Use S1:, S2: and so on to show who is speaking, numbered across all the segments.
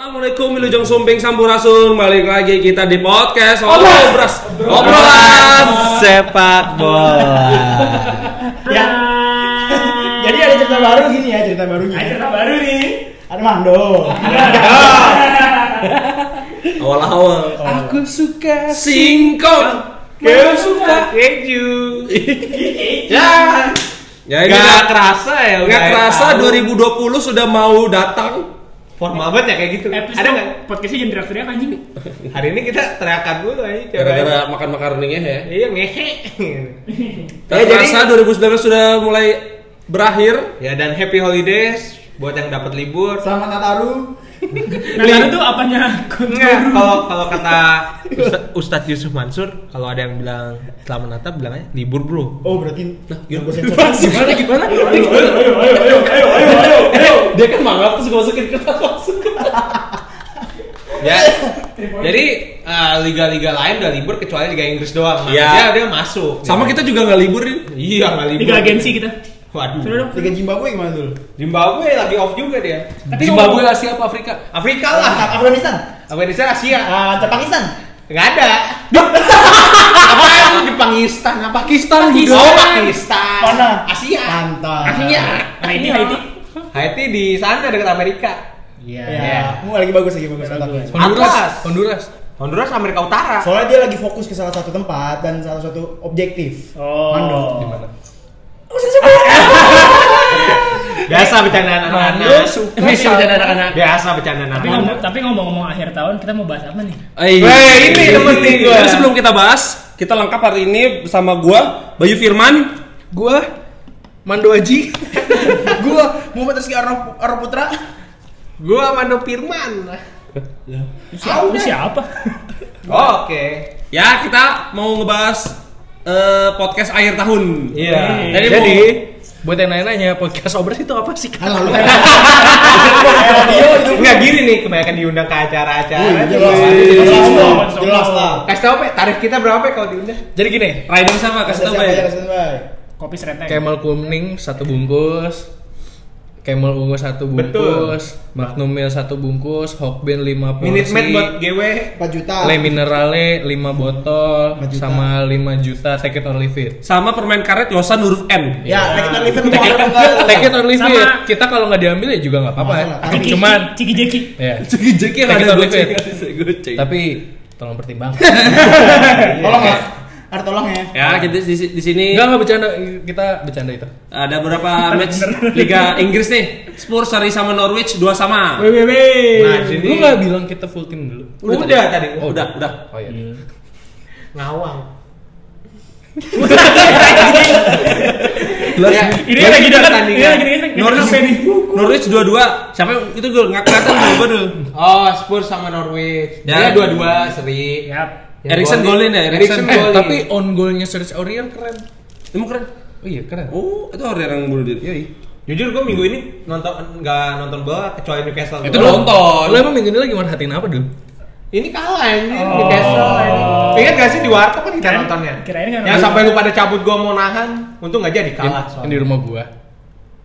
S1: Wilujeng Sumbing Sampurasun balik lagi kita di podcast Obras
S2: Obrolan
S1: Obrolan
S2: sepak bola.
S3: Ya. Jadi ada cerita baru gini ya, cerita baru gini.
S4: Ada cerita baru nih.
S3: Ada Mando.
S1: Awal-awal
S2: Aku suka
S1: Singkong
S2: Kau suka keju. ya,
S1: Ya ini
S2: nggak
S1: gak,
S2: kerasa ya. udah
S1: gak
S2: akhir
S1: kerasa
S2: tahun.
S1: 2020 sudah mau datang
S2: Formal banget ya kayak gitu.
S4: Episode
S2: Ada nggak?
S4: podcastnya jangan teriak-teriak anjing.
S2: Hari ini kita teriakan dulu aja. coba.
S1: Gara-gara makan makaroninya ya
S2: Iya ngehe.
S1: Gak kerasa 2019 sudah mulai berakhir
S2: Ya dan happy holidays buat yang dapat libur.
S3: Selamat Nataru.
S4: Nah, itu tuh apanya?
S2: Nggak, kalau kalau kata Usta- Ustadz Yusuf Mansur, kalau ada yang bilang selamat Natal bilangnya libur bro.
S3: Oh berarti nah, gue sensor.
S1: Gimana gimana?
S4: Ayo, ayo, ayo, ayo, ayo, ayo, ayo.
S1: Dia kan mangap terus gue masukin kertas langsung
S2: Ya. Jadi eh, liga-liga lain udah libur kecuali Liga Inggris doang.
S1: Iya.
S2: Iya. Dia, dia masuk.
S1: Sama
S2: Gitu.
S1: kita juga gak libur Rin.
S2: Iya nggak libur.
S4: Tiga agensi kita.
S2: Waduh.
S4: Sudah dong.
S3: Liga Zimbabwe gimana dulu?
S2: Zimbabwe lagi off juga dia.
S1: Zimbabwe Asia apa Afrika?
S2: Afrika lah.
S3: Lantak Afghanistan.
S2: Afghanistan Asia.
S3: Ah, Lantak Pakistan.
S2: Nggak ada. Apaan di Pakistan? Apa Pakistan?
S1: Pakistan.
S2: Oh, Pakistan.
S3: Mana?
S2: Asia.
S3: Lantak.
S4: Iya.
S2: Asia.
S4: Haiti, Nah, Haiti.
S2: Haiti di sana dekat Amerika.
S3: Iya.
S2: Iya.
S3: Mu lagi bagus lagi bagus Lantak.
S1: Iya.
S2: Atlas.
S1: Honduras.
S2: Honduras Amerika Utara.
S3: Soalnya dia lagi fokus ke salah satu tempat dan salah satu objektif.
S4: Oh.
S3: Mando.
S2: Biasa bercandaan anak-anak.
S1: Ini
S4: Ini
S1: salah.
S4: ada anak-anak.
S2: Biasa bercandaan
S4: Tapi
S2: anak-anak.
S4: ngomong, tapi ngomong-ngomong akhir tahun kita mau bahas apa nih?
S1: Eh,
S2: Weh, ini yang penting gua.
S1: Jadi sebelum kita bahas, kita lengkap hari ini bersama gua Bayu Firman.
S5: gua Mando Aji gua Muhammad Rizky Arno, Arno Putra
S2: Gua Mano Firman.
S4: Lu siapa? Lu siapa?
S2: Oke.
S1: Ya, kita mau ngebahas eh, podcast akhir tahun.
S2: Iya.
S1: Jadi,
S2: Jadi,
S5: buat yang nanya-nanya podcast obras itu apa sih
S3: Kan
S5: kan
S3: lalu.
S2: Iya, nggak gini nih kebanyakan diundang ke acara-acara.
S3: Jelas.
S2: Jadi,
S3: Jelas lah.
S4: Sombong,
S3: Jelas lah.
S2: Kasih tau Pe, tarif kita berapa Pe, kalau diundang?
S5: jadi gini
S1: Rai dong sama kasih tau
S3: Siapa aja
S1: ya.
S3: kasih tahu, Bay?
S4: Kopi seretek.
S5: Camel kuning satu bungkus Camel ungu satu bungkus Magnum Mil satu bungkus Hokben lima
S2: Minute Maid
S5: porsi
S2: buat GW
S3: 4 juta.
S5: Le Minerale 5 botol
S3: Lima juta.
S5: sama 5 juta take it or leave it.
S1: Sama permen karet Yosan huruf N.
S3: Ya,
S4: Ya.
S3: lagi kita live mau ada enggak?
S5: Take it or leave
S4: Sama.
S5: it. Kita kalau nggak diambil ya juga nggak apa-apa. ya.
S3: Masalah.
S4: Ciki-
S5: Cuman
S4: Ciki Jeki.
S5: ya.
S1: Jeki yang
S5: Take it
S1: ada
S5: or
S1: gue
S5: leave it.
S1: cek.
S5: Tapi tolong pertimbangkan.
S3: Tolong ya. Harus tolong ya.
S1: Ya, kita di, di sini
S5: Enggak enggak bercanda, kita bercanda itu.
S1: ada berapa match Liga Inggris nih. Spurs hari sama Norwich dua sama.
S4: WWW.
S2: Nah, di sini
S5: Lu nggak bilang kita full team dulu?
S2: udah, tadi.
S1: Oh, udah, udah.
S5: Oh iya.
S2: Ngawang.
S1: Gelar-
S2: Ya,
S4: Ini lagi dalam
S2: tandingan.
S4: Ini lagi dalam
S1: Norwich Norwich dua-dua. Siapa yang itu gol nggak kelihatan gol dulu.
S2: Oh, Spurs sama Norwich.
S1: Ya.
S2: Ya, dua-dua seri.
S4: Yap.
S2: Yang
S1: Erikson golin ya, Erikson.
S2: Erikson
S5: Eh,
S2: golin.
S5: tapi on goalnya Serge Aurier keren.
S1: Emang keren.
S5: Oh iya, keren.
S1: Oh, itu orang yang bunuh diri. iya.
S5: Yoi.
S2: jujur gue minggu ini nonton nggak nonton bola kecuali Newcastle.
S1: Itu
S2: doang.
S1: nonton.
S5: Lu emang minggu ini lagi merhatiin apa dulu?
S2: Ini kalah anjir Newcastle. anjir. Oh. Ingat gak sih di warkop kan kita
S4: Kirain-
S2: nontonnya?
S4: kirain nggak
S2: Yang
S4: nonton.
S2: sampai lu pada cabut gua mau nahan, untung nggak jadi kalah
S5: Yang di
S2: soalnya.
S5: rumah gua.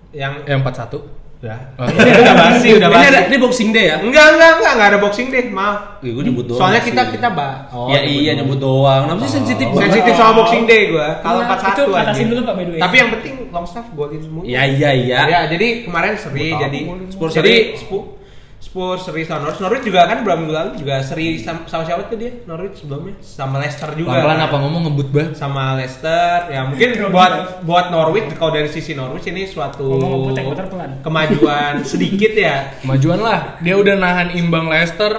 S2: Yang
S5: Yang 41.
S2: udah.
S5: Oh.
S2: Ini udah basi, udah
S1: ini
S2: basi.
S1: ada ini boxing day ya?
S2: Enggak, enggak, enggak, enggak ada boxing deh, maaf.
S1: Ih, Iya, gua nyebut doang.
S2: Soalnya kita
S1: sih.
S2: kita bah.
S1: ya iya nyebut doang. Kenapa sih sensitif banget?
S2: Sensitif sama boxing day gua. Kalau
S4: Nah,
S2: 41
S4: itu atasin
S2: anjir.
S4: dulu, Pak, by the way.
S2: Tapi yang penting Longstaff golin semua.
S1: Ya iya iya.
S2: Ya, jadi kemarin seri
S1: Gua tahu
S2: jadi
S1: golin semua.
S2: Spurs jadi Spu- Spurs seri sama Norwich. Norwich juga kan beberapa minggu lalu juga seri sama, sama siapa tuh dia? Norwich sebelumnya sama Leicester juga.
S5: Pelan-pelan apa ngomong ngebut banget.
S2: Sama Leicester. Ya mungkin buat buat Norwich kalau dari sisi Norwich ini suatu
S4: Ngomong putar-putar pelan.
S2: kemajuan sedikit ya.
S5: Kemajuan lah. Dia udah nahan imbang Leicester,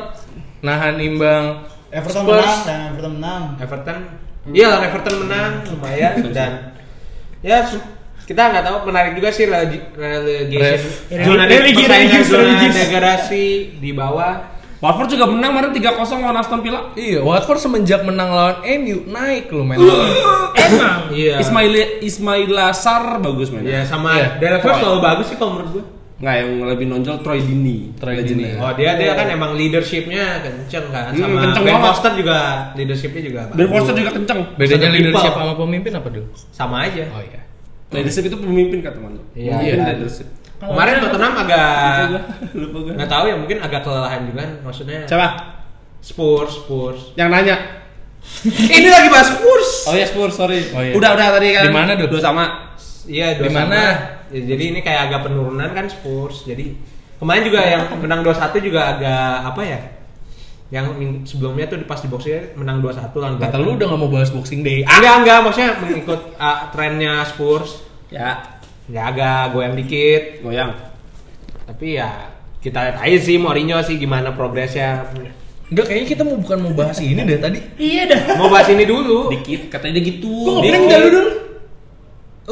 S5: nahan imbang
S3: Everton
S5: Spurs.
S3: menang, dan Everton menang.
S2: Everton. Iya, lawan Everton menang lumayan dan ya su- kita nggak tahu menarik juga sih religi- relegation
S4: Ref.
S2: zona religi
S4: Religi- religis,
S2: zona
S4: religis.
S2: degradasi di bawah
S1: Watford juga menang kemarin 3-0 lawan Aston Villa.
S5: Iya, Watford semenjak menang lawan MU naik lu men.
S4: Emang.
S2: iya
S1: Ismail Ismail Lasar bagus mainnya.
S2: Iya sama
S5: Iya.
S2: Daniel Ford selalu bagus sih kalau menurut gue.
S1: Nggak yang lebih nonjol Troy Dini.
S5: Troy
S1: Legend. ya.
S5: Dini.
S2: Oh dia dia kan emang leadershipnya kenceng kan sama
S1: Iya. Hmm, kenceng
S2: Ben
S1: banget.
S2: Foster juga leadershipnya juga
S1: Ben
S2: bagus.
S1: Foster juga kenceng.
S5: Bedanya
S2: Satu
S5: leadership
S2: people.
S5: sama pemimpin apa dulu?
S2: sama aja.
S5: Oh iya.
S1: Leadership itu pemimpin kata teman.
S2: Iya.
S1: Pemimpin leadership.
S4: Oh.
S2: Kemarin Tottenham agak
S1: Lupa gua, lupa gua.
S2: nggak tahu ya mungkin agak kelelahan juga maksudnya.
S3: Siapa?
S2: Spurs, Spurs.
S3: Yang nanya.
S2: Ini lagi bahas Spurs.
S1: Oh ya Spurs, sorry.
S5: Oh iya.
S1: Udah udah tadi kan.
S5: Di mana, Dud?
S1: Dua sama.
S2: Iya, dua
S5: Di mana?
S2: sama. Ya, jadi ini kayak agak penurunan kan Spurs. Jadi kemarin juga yang menang 2-1 juga agak apa ya? Yang ming- sebelumnya tuh di pas di boxnya menang 2-1 lawan
S5: Kata lu udah
S2: Brighton.
S5: gak mau bahas boxing day.
S2: Enggak, enggak, maksudnya mengikut ah, trennya Spurs.
S1: Ya,
S2: Ya agak goyang dikit,
S1: goyang.
S2: tapi ya kita lihat aja sih Mourinho sih gimana progresnya.
S5: Enggak kayaknya kita mau bukan mau bahas ini deh tadi.
S4: Iya dah.
S2: Mau bahas ini dulu.
S1: Dikit katanya dia gitu.
S5: Gua
S1: Dikit.
S5: ngomongin enggak lu dulu.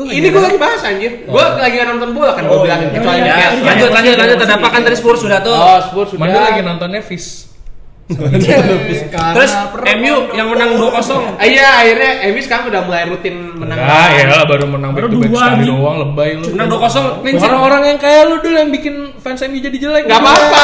S2: ini gue lagi bahas anjir. Gue lagi nggak nonton bola kan gue
S5: Oh,
S2: bilangin
S5: iya.
S2: kecuali
S1: Ya,
S2: Newcastle.
S1: lanjut lanjut lanjut ada apa kan tadi Spurs sudah tuh.
S2: Oh, Spurs sudah.
S5: Mandi lagi nontonnya Fis.
S1: Terus MU yang menang Nah, iya. 2-0.
S2: Ah, Iya, akhirnya Emi sekarang udah mulai rutin menang.
S5: Enggak ya lah baru menang
S4: Baru
S5: back to back
S4: dua
S5: sekali
S4: nih.
S5: doang lebay lu.
S1: Menang 2-0 clean sheet.
S5: Orang-orang yang kayak lu dulu yang bikin fans MU jadi jelek. Iya.
S2: Nggak apa-apa.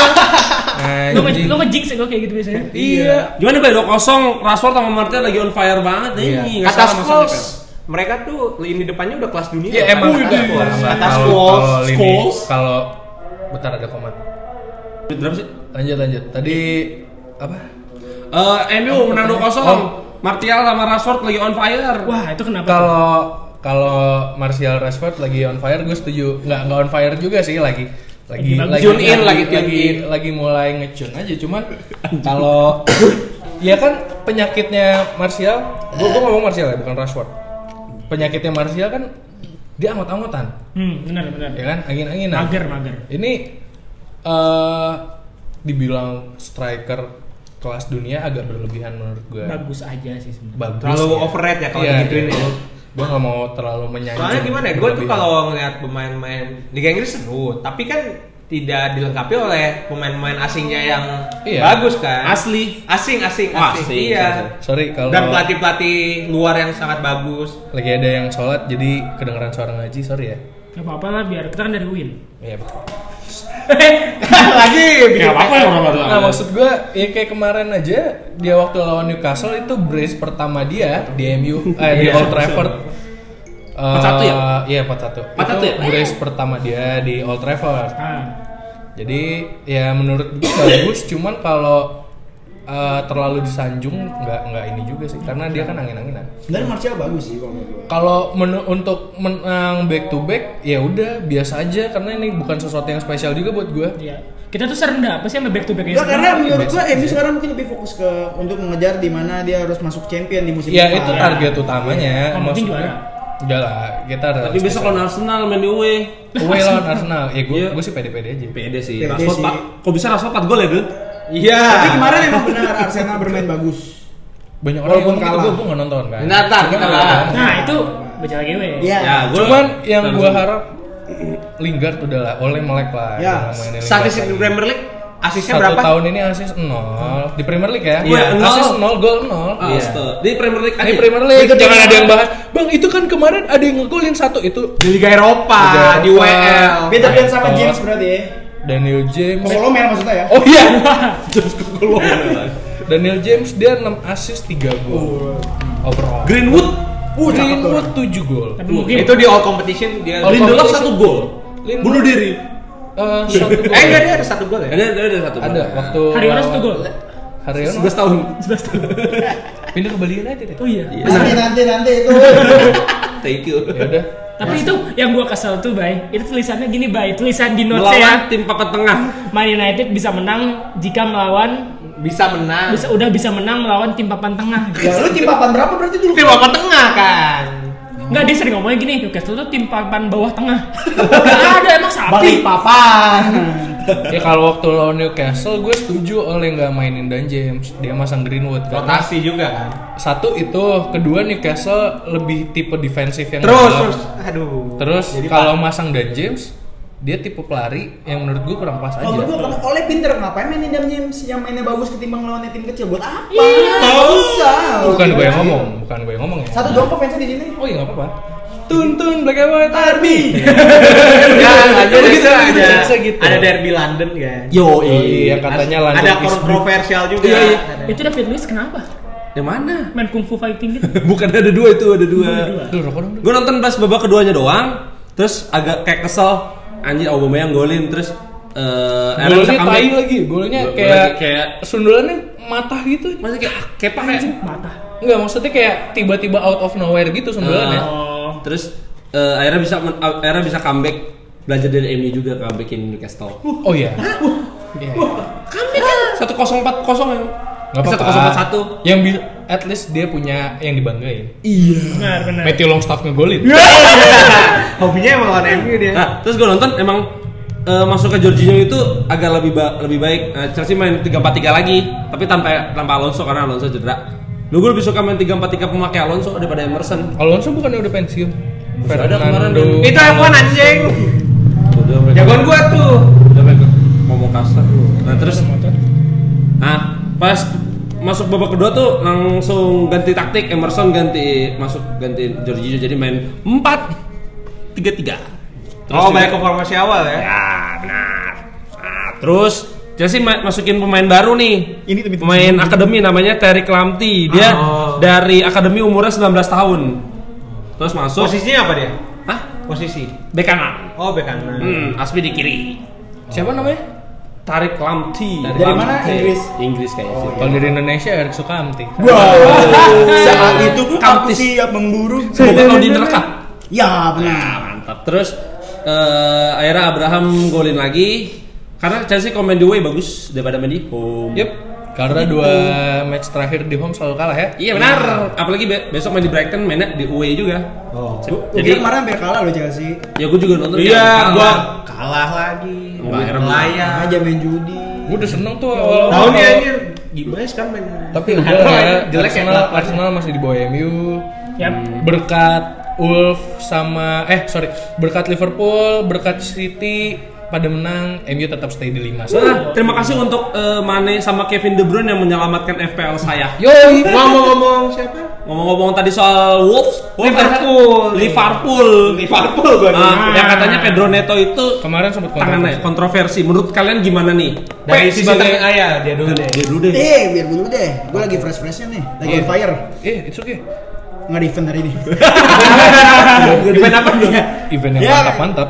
S4: Lu nge
S5: Anjing.
S4: lu nge-jinx ya gue kayak gitu biasanya.
S5: Iya.
S1: Gimana Bay? 2-0 Rashford sama Martial lagi on fire banget nih. Nggak
S2: Kata
S1: salah masuk
S2: Scholes,
S1: DPL.
S2: mereka tuh lini depannya udah kelas dunia.
S1: Iya,
S5: Ya emang
S2: kata Scholes. Kata
S5: Kalau-
S2: Scholes,
S5: kalau lini-
S2: Scholes.
S5: Kalau bentar ada komat. Lanjut lanjut. Tadi apa?
S1: Eh, MU menang 2-0.
S5: Oh.
S1: Martial sama Rashford lagi on fire.
S4: Wah, itu kenapa? tuh?
S5: Kalau kalau Martial Rashford lagi on fire, gue setuju. Nggak nggak on fire juga sih lagi lagi
S4: Lagi bagus.
S2: Tune in, lagi tune
S5: lagi,
S2: in.
S5: lagi mulai ngecun aja. Cuman kalau ya kan penyakitnya Martial, gue gue ngomong Martial ya bukan Rashford. Penyakitnya Martial kan dia angot-angotan,
S4: Hmm, benar benar.
S5: ya kan angin-anginan.
S4: Mager mager.
S5: Ini eh dibilang striker kelas dunia agak berlebihan menurut gue.
S4: Bagus aja sih sebenarnya.
S5: Bagus.
S2: Terlalu overrated ya kalau
S5: Iya,
S1: Iya,
S2: digituin ya.
S5: Gue gak mau terlalu menyanyi.
S2: Soalnya gimana ya, gue tuh kalau ngeliat pemain-pemain Liga Inggris seru, tapi kan tidak dilengkapi oleh pemain-pemain asingnya yang
S5: Iya.
S2: bagus kan.
S1: Asli.
S2: Asing, asing, asing.
S1: Oh, asing.
S2: Iya.
S5: sorry kalau
S2: Dan pelatih-pelatih luar yang sangat bagus.
S5: lagi ada yang sholat jadi kedengeran suara ngaji sorry ya.
S4: Gak apa-apa lah biar kita kan dari Win.
S5: Iya.
S2: Lagi bikin
S1: apa-apa ya orang orang.
S5: Nah maksud gue ya kayak kemarin aja dia waktu lawan Newcastle itu brace pertama dia di MU eh di
S2: Iya,
S5: Old Trafford.
S1: 4-1 ya?
S5: Iya
S1: 4-1
S5: 4-1. Itu
S1: ya?
S5: Brace pertama dia di Old Trafford.
S4: Ah,
S5: Jadi ya menurut gue bagus, cuman kalau eh, terlalu disanjung nggak nggak ini juga sih, karena dia kan angin-anginan.
S3: Sebenarnya Martial bagus sih Iya, kalau menurut gua.
S5: Kalau menu untuk menang back to back ya udah biasa aja, karena ini bukan sesuatu yang spesial juga buat gue.
S4: iya. Kita tuh serendah apa sih sama back to back
S3: Enggak, Ya, karena menurut gua
S5: biasa
S3: MU sekarang mungkin lebih fokus ke untuk mengejar di mana dia harus masuk champion di musim
S5: Ya
S3: depan. Iya.
S5: itu target utamanya.
S4: Yang penting
S5: Maksudnya,
S4: juara.
S5: Udah lah, kita ada.
S1: Tapi besok lawan Arsenal main di away.
S5: away lawan Arsenal, ya gue
S1: Iya.
S5: gue sih pede-pede aja.
S1: PD sih.
S3: PD
S1: Rashford
S3: sih.
S1: Pak. Kok bisa Rashford 4 gol ya, Dul?
S2: Iya.
S3: Tapi kemarin emang benar Arsenal bermain bagus.
S5: Banyak orang
S3: Walaupun
S5: yang ngomong
S3: kalah.
S5: gitu, gue nggak nonton kan.
S2: Nah, ntar kita bahas.
S4: Nah, itu baca lagi we.
S3: Iya.
S1: gua-
S5: Cuman yang
S1: Langsung.
S5: gue harap Lingard udah lah, oleh melek lah.
S3: Ya,
S5: Jangan mainin Lingard
S2: Statistik
S5: lagi.
S2: di Premier League asisnya
S5: Iya, Satu
S2: berapa?
S5: tahun ini asis 0 di Premier League ya.
S1: Iya, nol.
S5: asis 0, gol 0.
S1: Ah, astaga. Di Premier League ya?
S5: Ini
S1: aja.
S5: Premier League.
S1: Itu
S5: Iya. Jangan
S1: dia.
S5: ada yang bahas, "Bang, itu kan kemarin ada yang ngegolin satu itu."
S2: Di Liga Eropa,
S5: Liga Eropa.
S2: di WL.
S3: Peter Dan sama
S5: Betul.
S3: James berarti ya.
S5: Daniel James.
S3: Kosolomel maksudnya ya.
S5: Oh iya. Daniel James dia 6 asis 3 gol.
S2: Oh.
S5: Overall.
S1: Greenwood.
S3: Uh, cakep tuh.
S5: Greenwood 7 gol.
S4: Tapi mungkin
S2: Itu di all competition dia.
S5: All
S1: Lindelof
S5: competition.
S1: satu gol.
S5: Lindelof.
S1: Bunuh diri.
S5: Eh, satu gol.
S2: Eh enggak dia ada satu gol ya?
S1: Ada ada ada satu.
S5: Ada waktu
S4: Haryono satu gol.
S5: Haryono
S1: 11 tahun.
S4: 11 tahun.
S5: pindah ke Bali United ya.
S4: Oh iya.
S3: Nanti nanti nanti itu.
S1: Thank you.
S5: Ya udah.
S4: Tapi itu yang gua kesel tuh, Bay. Itu tulisannya gini, Bay. Tulisan di notes
S1: Melawan
S4: ya.
S1: tim papan tengah.
S4: Man United bisa menang jika melawan
S2: Bisa menang.
S4: bisa udah bisa menang melawan tim papan tengah.
S3: Ya lu tim papan berapa berarti dulu?
S2: Tim apa tengah kan?
S4: Enggak dia sering ngomongnya gini, Newcastle tuh tim papan bawah tengah. Enggak ada emang sapi.
S3: Balik papan.
S5: Ya kalau waktu lawan Newcastle gue setuju oleh nggak mainin Dan James, dia masang Greenwood. Karena
S2: Rotasi juga kan.
S5: Iya. satu itu, kedua Newcastle lebih tipe defensif yang
S2: Terus
S5: dalam.
S2: terus aduh.
S5: Terus
S2: Jadi
S5: kalau masang Dan James, dia tipe pelari yang menurut gue kurang pas
S3: Kalau Oh, menurut gua
S5: aja.
S3: kalau oleh pinter ngapain mainin Dam James yang mainnya bagus ketimbang lawannya tim kecil buat apa?
S4: Iya.
S3: Nggak usah.
S5: Bukan gue yang ngomong, bukan gue yang ngomong ya.
S3: Satu doang kok fansnya di sini.
S5: Oh iya nggak apa-apa. Tuntun Black and White Army.
S2: ya lanjut
S5: Begitu,
S2: itu
S5: begitu,
S2: ada
S5: bisa gitu.
S2: ada derby London
S1: Oh,
S2: kan.
S5: Yo iya katanya lanjut.
S2: Ada kontroversial juga.
S1: Iya, iya.
S2: Ada.
S4: Itu David Luiz kenapa?
S1: Yang mana?
S4: Main kungfu fighting gitu.
S1: Bukan ada dua itu, ada dua.
S5: Duh, rokok dong.
S1: Gue nonton pas babak keduanya doang, terus agak kayak kesel. anjir Aubameyang golin terus eh Aaron bisa
S5: Golnya
S1: comeback.
S5: tai lagi, golnya
S1: Gol-
S5: kayak
S1: golnya kayak-
S5: sundulannya matah gitu.
S1: Maksudnya kayak kepa kayak
S4: Matah.
S5: Enggak, maksudnya kayak tiba-tiba out of nowhere gitu sundulannya.
S1: Eh, terus eh, akhirnya bisa men- akhirnya bisa comeback belajar dari MU juga comebackin Newcastle.
S5: Oh iya. Iya.
S1: Comeback kan satu kosong empat kosong yang
S5: ya?
S1: satu
S5: Nggak apa-apa.
S1: kosong empat satu.
S5: Yang bisa at least dia punya yang dibanggain.
S1: Iya.
S4: Benar, benar.
S5: Matthew Longstaff ngegolin.
S2: Hobinya emang lawan MU dia.
S1: Nah terus gue nonton emang eh, masuk ke Jorginho itu agak lebih ba- lebih baik. Nah, Chelsea main tiga empat tiga lagi, tapi tanpa tanpa Alonso karena Alonso cedera. Lu gue lebih suka main tiga empat tiga pemakai Alonso daripada Emerson.
S5: Alonso bukannya udah pensiun?
S1: Bisa ada kemarin,
S5: Fernando-
S1: kan?
S2: Itu F1 anjing.
S1: Udah, mereka-
S2: Jagoan gua tuh.
S1: udah mereka ngomong kasar. Nah terus Nah, pas masuk babak kedua tuh langsung ganti taktik Emerson ganti masuk ganti Jorginho jadi main 4 3 3.
S2: Oh, balik ke formasi awal ya.
S1: Ya, benar. Nah, terus Chelsea ma- masukin pemain baru nih.
S3: Ini tuh-
S1: pemain akademi namanya Terry Klamti. Dia
S2: Oh.
S1: dari akademi umurnya 19 tahun. Terus masuk
S2: Posisinya apa dia?
S1: Hah?
S2: Posisi.
S1: Bek kanan.
S2: Oh, bek kanan.
S1: Hmm, Aspi di kiri.
S5: Siapa namanya?
S1: Tarik Klamti.
S5: Dari
S1: Klamti.
S3: mana? Inggris?
S1: Inggris kayaknya sih.
S5: Kalau dari Indonesia Erik Sukamti.
S3: Wow. Saat itu aku
S1: Kamptis.
S3: siap memburu.
S1: Semoga kau dinerkat.
S3: Ya
S1: Nah,
S3: benar.
S1: mantap. Terus eh, akhirnya Abraham golin lagi karena Chelsea kalau main di away bagus daripada main di home.
S5: Yep. Karena dua match terakhir di home selalu kalah ya.
S1: Iya benar. Apalagi be- besok main di Brighton mainnya di away juga.
S2: Oh.
S3: Jadi
S1: Jadi
S3: kemarin hampir kalah loh Chelsea.
S1: ya gue juga nonton.
S2: Iya,
S1: yang
S2: gua
S1: kalah.
S2: kalah lagi.
S1: Enggak, heran.
S3: Ah,
S2: Layak.
S3: Aja main judi.
S5: Gue udah seneng
S1: Ya
S5: tuh awal
S2: Tahun nih anjir. Gimana sih kan main?
S5: Tapi
S1: Nah,
S5: udah lah ya,
S2: Jelek ya.
S5: Arsenal, Arsenal masih di bawah MU.
S4: Yap.
S5: Berkat Wolf sama eh sorry, berkat Liverpool, berkat City pada menang, MU tetap stay di 5. So,
S1: Nah, terima kasih untuk eh, Mane sama Kevin De Bruyne yang menyelamatkan FPL saya.
S5: Yoi.
S2: Ngomong-ngomong siapa?
S1: Ngomong-ngomong tadi soal Wolves, Wolves
S2: Liverpool.
S1: ada- Liverpool,
S2: Liverpool gua
S1: Ah,
S2: dengar.
S1: yang katanya Pedro Neto itu
S5: Kemarin sempat
S1: tangannya
S5: kontroversi.
S1: kontroversi. Menurut kalian gimana nih?
S2: Dari
S1: Pe,
S2: sisi
S1: sebagai-
S2: tengah ya dia dulu deh.
S1: Dia dulu deh.
S3: Eh, biar gue dulu deh. Gue lagi fresh-freshnya nih. Lagi on fire.
S1: ya?
S5: Eh, it's okay.
S3: Nggak di event hari ini.
S2: Gimana apa dia?
S5: Event yang
S3: Ya.
S5: mantap-mantap.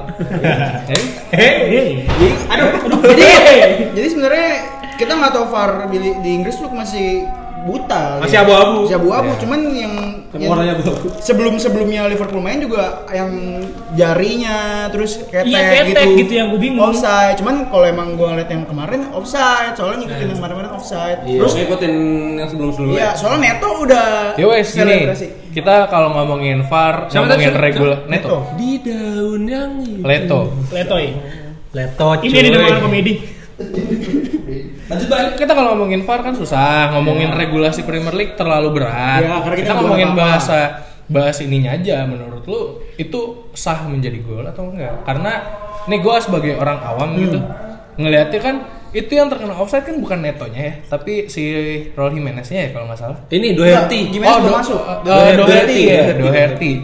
S5: Eh,
S3: Jadi, aduh, Jadi, ya, jadi sebenarnya kita nggak tahu VAR di, di Inggris tuh masih buta.
S2: Masih abu-abu.
S3: Masih abu-abu.
S5: Iya.
S3: Cuman yang,
S1: Semua orangnya abu-abu.
S3: sebelum sebelumnya Liverpool main juga yang jarinya terus ketek,
S4: Iya, ketek gitu yang gua bingung.
S3: Offside. Cuman kalau emang gua lihat yang kemarin offside. Soalnya ngikutin yang kemarin-kemarin offside.
S1: Terus
S3: Terus
S1: Iya, ngikutin yang sebelum-sebelumnya.
S3: Iya, soalnya Neto udah
S5: ya wes gini.
S3: selebrasi.
S5: Kita kalau ngomongin VAR,
S1: Siapa tadi?
S5: ngomongin
S1: Siapa?
S5: regular
S3: Neto.
S5: Neto.
S1: Di daun yang
S5: Leto.
S4: Letoy.
S2: Leto
S4: Ini ada demongan komedi.
S1: Lanjut balik.
S5: kita kalau ngomongin VAR kan susah, ngomongin regulasi Premier League terlalu berat.
S3: Ya, Iya. karena
S5: kita
S3: kita
S5: ngomongin
S3: belum apa-apa.
S5: bahasa bahas ininya aja menurut lu itu sah menjadi gol atau enggak? Karena nih gua sebagai orang awam
S3: Hmm.
S5: gitu ngelihatnya kan itu yang terkena offside kan bukan netonya ya, tapi si Raul Jimenez-nya ya kalau nggak salah.
S1: Ini Doherty.
S3: Enggak, Jimenez belum
S5: Do-
S3: masuk.
S5: uh,
S1: Doherty,
S5: Doherty ya,
S1: Doherty.
S5: Doherty.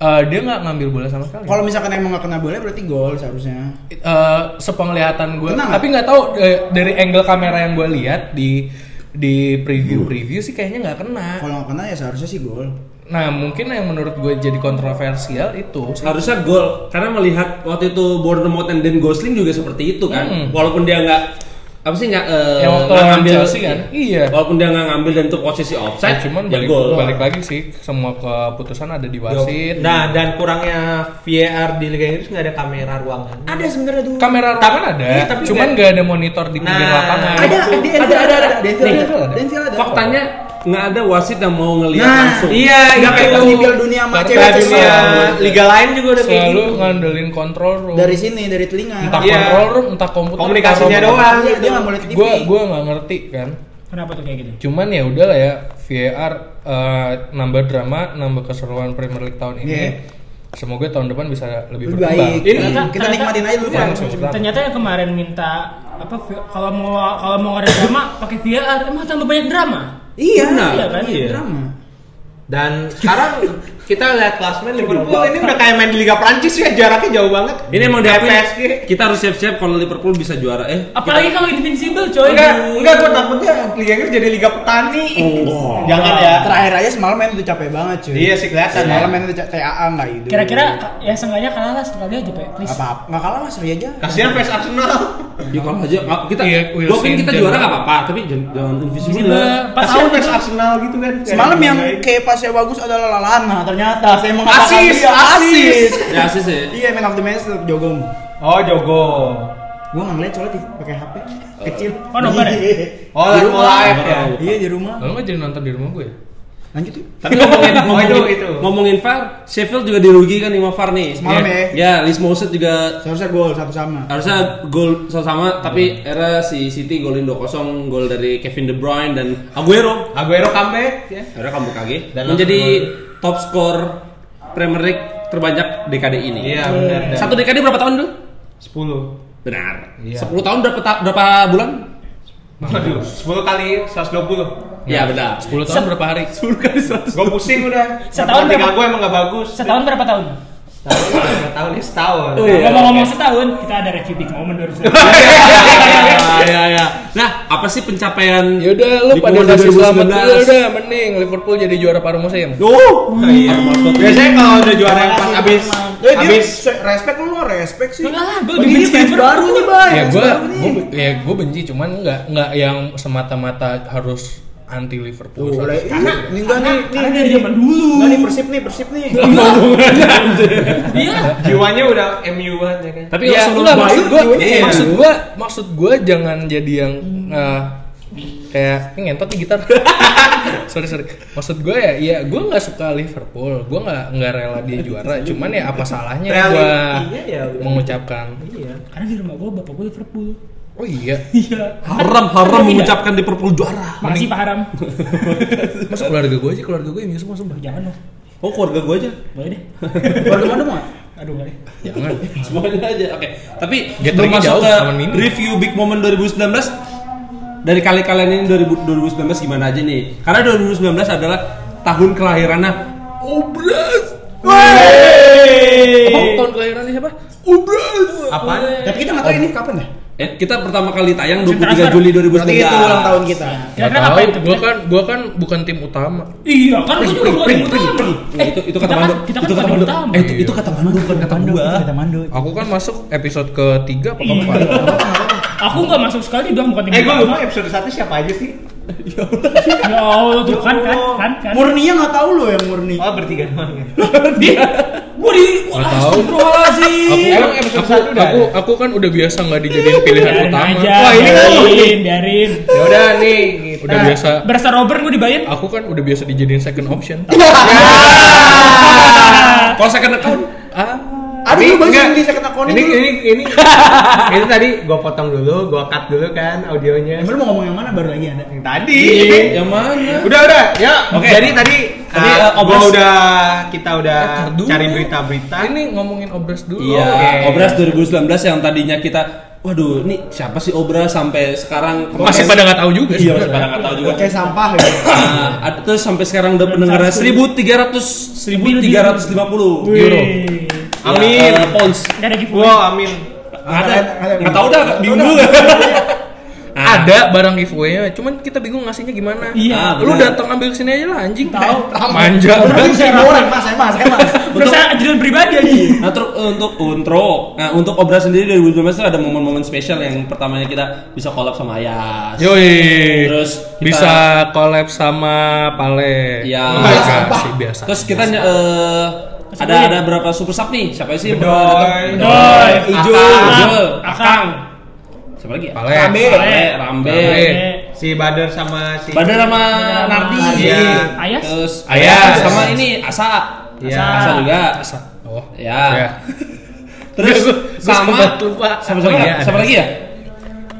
S5: Eh, dia nggak ngambil bola sama sekali.
S3: Kalau misalkan emang nggak kena bola berarti gol seharusnya.
S5: eh sepenglihatan gue
S3: Tenang.
S5: tapi nggak tahu eh, dari angle kamera yang gue lihat di di preview preview sih kayaknya nggak kena
S3: Kalau nggak kena ya seharusnya sih gol.
S5: nah mungkin yang menurut gue jadi kontroversial itu sih.
S1: Harusnya gol karena melihat waktu itu Bournemouth dan Dan Gosling juga seperti itu kan.
S5: Hmm.
S1: Walaupun dia nggak apa sih nggak eh,
S5: Yang waktu
S1: nggak
S5: lawan Chelsea kan? Iya.
S1: Walaupun dia nggak ngambil dan itu posisi
S2: Oh,
S1: offside,
S5: Ya, cuman
S1: ya
S5: balik,
S1: gol.
S5: balik lagi sih semua keputusan ada di wasit
S2: Nah, dan kurangnya VAR di Liga Inggris nggak ada kamera ruangan.
S3: Ada sebenarnya tuh.
S5: kamera ruangan ada
S2: Iya, tapi
S5: cuman
S2: nggak-
S5: nggak ada monitor di pinggir
S2: Nah,
S5: lapangan
S3: ada, di
S1: Ada,
S3: Anfield
S1: ada, ada.
S3: Di Anfield
S5: Nih,
S3: ada. Di Anfield ada.
S1: Faktanya nggak ada wasit yang mau ngelihat
S3: Nah,
S1: langsung.
S2: Iya,
S3: Nggak kayak pas di Piala Dunia sama
S5: Karena
S3: cewek
S5: di
S2: dunia
S5: Selalu-
S2: liga lain juga udah kayak
S5: selalu
S2: gitu.
S5: ngandelin kontrol room
S3: Dari sini, dari telinga.
S5: entah
S2: Iya.
S5: kontrol room entah komputer
S2: Komunikasinya doang.
S3: Iya, dia nggak boleh ke TV.
S5: gue gue nggak ngerti kan
S4: Kenapa tuh kayak gitu?
S5: Cuman ya udahlah ya VAR eh, nambah drama, nambah keseruan Premier League tahun ini.
S3: Iya.
S5: Semoga tahun depan bisa lebih
S3: lebih
S5: berkembang.
S3: baik.
S2: Ini-
S3: Nah, kita nikmatin aja dulu
S5: Iya,
S3: kan.
S5: maksudnya.
S4: Ternyata yang kemarin minta apa vi- kalau mau kalau mau ada drama pakai ah, VAR emang tambah banyak drama.
S3: Iya,
S1: Benar,
S3: iya kan?
S1: iya.
S3: Drama.
S2: Dan sekarang kita lihat klasmen Liverpool ini udah kayak main di Liga Prancis ya jaraknya jauh banget.
S1: Ini emang diakui
S2: PSG.
S1: kita harus siap-siap kalau Liverpool bisa juara. Eh,
S4: Apalagi kalau invincible coy.
S2: Enggak, enggak gua takutnya Liga Inggris jadi Liga petani. Jangan ya.
S3: Iya. Terakhir aja semalam main itu capek banget cuy.
S2: Iya sih, kelihatan
S3: Semalam
S2: ya.
S3: main itu ca- TAA nggak hidup.
S4: Kira-kira ya seenggaknya kalah lah sekali aja pak, please.
S3: apa apa nggak kalah lah seri aja.
S2: Kasihan fans Arsenal.
S1: ya kalau aja nggak- kita
S5: Iya,
S1: gua
S5: Wilson,
S1: yakin kita
S5: Jan-
S1: juara nggak apa-apa, tapi jangan, jangan invisible.
S4: Invincible,
S1: lah.
S4: pas
S2: Kasihan
S4: out
S2: fans Arsenal gitu kan.
S3: Semalam yang
S2: Kayak-
S3: kayak pasnya bagus adalah Lalana ternyata saya mengatakan
S2: Asis,
S3: dia
S2: asis.
S1: Ya asis ya.
S3: Iya man of the match tuh Jogom.
S2: Oh, Jogo.
S3: Gua nggak ngeliat soalnya di- pakai HP kecil.
S4: Oh, nobar ya?
S3: Iya.
S2: Oh,
S3: Di
S2: live
S3: rumah.
S2: live ya.
S3: Iya di rumah.
S5: Lalu nggak jadi nonton di rumah gue ya?
S3: Lanjut yuk.
S1: Tapi ngomongin
S2: Oh,
S1: ngomongin,
S2: itu,
S5: Iya.
S2: itu.
S1: ngomongin VAR, Sheffield juga dirugikan sama VAR nih.
S3: Semalam
S5: Iya.
S1: ya.
S3: ya.
S1: Ya, Lis Mouset juga
S3: Seharusnya gol satu sama.
S1: harusnya gol sama-sama tapi
S5: Iya.
S1: era si City golin 2-0 gol dari Kevin De Bruyne dan Aguero.
S2: Aguero comeback ya.
S1: Akhirnya kamu kage
S2: Dan
S1: menjadi
S2: langsung
S1: top skor Premier League terbanyak dekade ini.
S2: Iya, benar. Dan-
S1: Satu dekade berapa tahun dulu?
S2: 10.
S1: Benar.
S2: Iya.
S1: 10 tahun berapa ta- berapa bulan?
S2: Waduh, 10 kali 120.
S1: Iya, benar.
S5: 10 tahun berapa hari?
S1: 10 kali 100.
S2: Gue pusing udah.
S4: Setahun
S2: Matematika
S4: berapa?
S2: gue emang gak bagus.
S4: setahun berapa tahun?
S2: Setahun, tiga tahun ya setahun.
S1: Oh, iya.
S4: Ngomong-ngomong setahun, kita ada review big moment 2019.
S1: ya, ya, ya. Nah, apa sih pencapaian?
S5: Yaudah Ya lu
S1: Big
S5: pada
S1: Moment
S5: kasih selamat dulu
S1: 2019?
S5: udah mending Liverpool jadi juara paruh musim.
S1: Oh,
S2: Oh, iya. Biasanya kalau udah juara yang pas abis
S3: Eh, dia
S2: abis
S3: se- respect lu lo respect sih.
S4: Enggak lah, gue
S1: Oh,
S3: Ini
S1: iya,
S4: lebih benci
S3: fans
S4: Liverpool.
S3: baru nih, Bay.
S5: ya
S3: Fans
S5: gue
S3: baru nih.
S5: ya gue benci cuman nggak nggak yang semata-mata harus anti Liverpool.
S3: Tuh,
S5: Soalnya-
S3: le- ini enggak nih,
S4: Karena
S3: nih,
S4: dari
S3: nih.
S4: zaman dulu.
S3: Enggak nih persip nih, persip nih.
S4: Iya.
S2: jiwanya udah MU banget ya kan.
S1: tapi
S5: ya,
S1: Arsenal
S5: enggak,
S1: baru-
S5: maksud gua,
S3: Iya.
S5: maksud gua, maksud gua jangan jadi yang eh, kayak ini ngentot nih gitar. sorry sorry. Maksud gua ya, ya gua nggak suka Liverpool. Gua nggak nggak rela dia juara. Cuman ya apa salahnya
S2: Rela.
S5: gua
S2: Iya, ya udah.
S5: mengucapkan.
S2: Iya.
S4: Karena di rumah gue bapak gue Liverpool.
S5: Oh iya,
S4: Iya.
S1: haram haram
S4: Tidak.
S1: mengucapkan Liverpool juara.
S4: Makasih Pak Haram.
S5: masa keluarga gua aja keluarga gua ini semua sumpah.
S4: Jangan dong.
S1: Oh, keluarga gue aja.
S4: Boleh deh.
S3: Baru kemana mau?
S4: Aduh, boleh.
S5: Jangan.
S1: Semuanya aja. Oke. Tapi
S5: Get
S1: sebelum
S5: Ricky
S1: masuk
S5: jauh
S1: ke
S5: sama Mimi.
S1: review big moment 2019 dari kali kalian ini 2000 2019 gimana aja nih? Karena 2019 adalah tahun kelahirannya Obras.
S5: Oh, tahun kelahirannya siapa?
S1: Obras.
S2: Apa?
S3: Tapi kita nggak tahu ini kapan ya?
S1: Eh, kita pertama kali tayang
S4: Musim
S1: 23
S4: transfer.
S1: Juli 2019.
S3: Berarti itu ulang tahun kita.
S5: Gak
S4: Kira-kira ngapain
S5: tahu.
S4: tuh?
S5: Gua kan gua kan bukan tim utama.
S4: Iya, kan
S1: Eh,
S4: gue juga bukan yang utama.
S1: Nah, itu itu kata
S4: kita
S1: Mando.
S4: kan- Kita kan
S1: itu kata
S4: bukan
S1: Mando.
S4: utama.
S1: Eh, itu,
S5: iya.
S1: itu kata Mando bukan kata gua.
S3: Kita mandu.
S5: kan, Aku kan masuk episode ketiga apa keempat.
S4: Iya. Aku nggak masuk sekali dong bukan tim
S2: Eh gue
S4: utama.
S2: lupa episode 1 siapa aja sih?
S4: Ya Allah, tuh kan kan kan kan.
S3: Oh. Murninya nggak tahu lo yang murni.
S2: Oh bertiga doang ya.
S4: Gue di
S5: Nggak tahu.
S4: Astagfirullahaladzim.
S5: aku
S2: Emang episode
S5: Iya. aku,
S2: satu udah
S5: aku,
S2: ada?
S5: aku kan udah biasa nggak dijadiin Iya, pilihan
S4: Biarin
S5: utama
S4: aja.
S2: Wah, ini kan-
S4: biarin, biarin.
S2: Ya udah nih gitu.
S5: udah biasa
S4: Berasa Robert gue dibayar.
S5: aku kan udah biasa dijadiin second option
S2: Ya.
S1: Kalau second account
S5: ah
S3: Aduh, lu baru
S2: Nah, enggak.
S3: sendiri saya kena konin
S2: ini,
S3: dulu.
S2: ini ini ini tadi gue potong dulu, gue cut dulu kan audionya.
S3: Yang baru mau ngomong yang mana baru lagi ada.
S2: Yang tadi.
S1: Iya, yang mana?
S2: Udah udah, ya.
S1: Oke.
S2: Jadi tadi,
S1: Tadi,
S2: uh,
S1: eh, obras-
S2: gua udah kita udah
S5: Eh, tar dulu.
S2: ya, cari berita-berita.
S5: ini ngomongin obras dulu
S1: Iya,
S2: Oke.
S1: Obras 2019 yang tadinya kita Waduh, ini siapa sih Obras sampai sekarang
S5: masih pada nggak tahu juga
S1: Iya, masih
S5: sebenarnya.
S1: pada nggak tahu juga.
S3: Kayak sampah ya.
S1: Nah, ada- terus sampai sekarang udah pendengarnya 1300 1350.
S5: Euro.
S1: Amin.
S2: Amin.
S1: pounds.
S4: Gak ada giveaway.
S2: Wow, amin.
S1: Ada.
S3: ada.
S1: Enggak tahu dah, bingung. Nah,
S5: ada barang giveaway-nya cuman kita bingung ngasihnya gimana
S4: Iya.
S1: Ah,
S5: lu
S1: benar.
S5: datang ambil kesini aja lah anjing Ah,
S4: Tahu.
S5: manja
S3: Berarti saya orang, Mas, saya Mas, saya Mas.
S4: Berasa ajudan pribadi aja.
S1: Nah, ter- untuk untuk nah, untuk Obras sendiri 2019 tuh ada momen-momen spesial yang pertamanya kita bisa collab sama Hayas.
S5: Yoi.
S1: Terus kita-
S5: bisa collab sama Pale.
S1: Iya.
S5: Iya, biasa.
S1: Terus kita eh, ada ada berapa super sub nih? Siapa sih? yang pernah datang?
S2: Bedoy.
S4: Doi.
S1: Ijo,
S4: Akang.
S1: Ijo.
S4: Akang.
S1: Siapa lagi ya?
S5: Pale.
S3: Rambe.
S1: Rambe, Rambe.
S5: Rambe.
S2: Si Badar sama si
S1: Badar sama Nardi.
S2: Iya.
S4: Ayas?
S1: Terus
S5: Ayas.
S1: sama ini Asa.
S2: Iya.
S1: Asa. Asa juga. Asa.
S5: Oh.
S1: Ya.
S5: Iya.
S1: Terus
S5: Gua- gua
S1: sama
S5: sempat lupa.
S1: Sama
S5: Oh,
S1: sama
S5: iya,
S1: sama
S5: ada.
S1: lagi ya?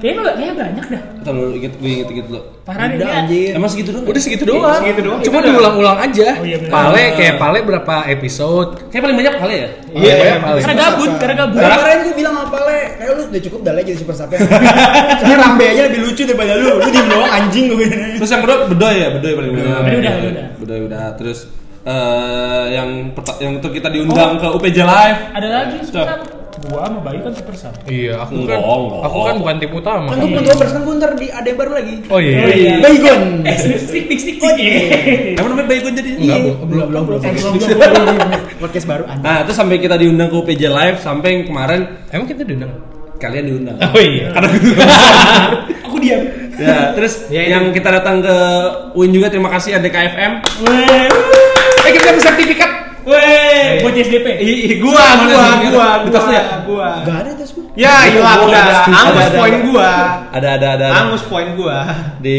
S4: Kayaknya nggak- kayaknya banyak dah.
S1: Entar dulu inget gue inget inget dulu.
S4: Parah deh.
S3: Udah,
S4: ya.
S3: anjir.
S1: Emang segitu doang.
S5: Iya. Udah segitu doang.
S4: Iya,
S2: segitu doang.
S5: Cuma
S2: Itu udah.
S5: diulang-ulang aja.
S4: Oh, iya, benar.
S5: pale kayak pale berapa episode?
S1: Kayak paling banyak kali ya?
S5: Iya,
S2: Iya,
S5: pale.
S4: Karena gabut, karena gabut.
S3: Kemarin gue bilang apa le? Kayak lu udah cukup dah Le, jadi super sapi. Soalnya rambe aja lebih lucu daripada lu. Lu diem doang anjing gue bilang.
S1: Terus yang kedua Bedoy ya, Bedoy paling banyak.
S4: Bedoy udah, udah.
S1: Bedoy udah. Terus eh, yang perta- yang itu kita diundang ke UPJ Live.
S4: Ada lagi
S1: Cok.
S4: sebentar. Gua sama Bayu kan super sub.
S5: Iya, aku kan
S1: Bohong, bohong.
S5: aku kan bukan tim utama.
S3: Kan gue bukan dua persen gue ntar di ada yang baru lagi.
S5: Oh iya.
S4: Oh, iya.
S3: Baygon.
S4: Eh, stick stick stick stick. Oh,
S1: Emang namanya Baygon jadi?
S5: Enggak, bu- belum belum belum.
S3: Podcast kan? baru anjing.
S1: Nah, itu sampai kita diundang ke UPJ Live sampai yang kemarin
S5: Emang kita diundang?
S1: kalian diundang.
S4: Oh,
S5: iya.
S1: Karena
S4: Aku diam.
S1: ya, terus
S2: Ya, itu.
S1: yang kita datang ke UIN juga terima kasih ada KFM.
S4: Weh.
S1: Eh, kita dapat sertifikat.
S4: Weh, buat JSDP.
S2: Ih, Iya, gua,
S1: Mana sih?
S2: gua, gua,
S1: Di
S2: gua,
S1: tas lu ya?
S2: gua.
S3: Gak ada tas gue.
S2: Ya, hilang
S1: iya. Gua
S2: udah.
S1: ada.
S2: Angus
S1: Ada, ada,
S2: poin
S1: ada.
S2: gua.
S1: Ada ada ada. ada.
S2: Angus poin gua.
S1: Di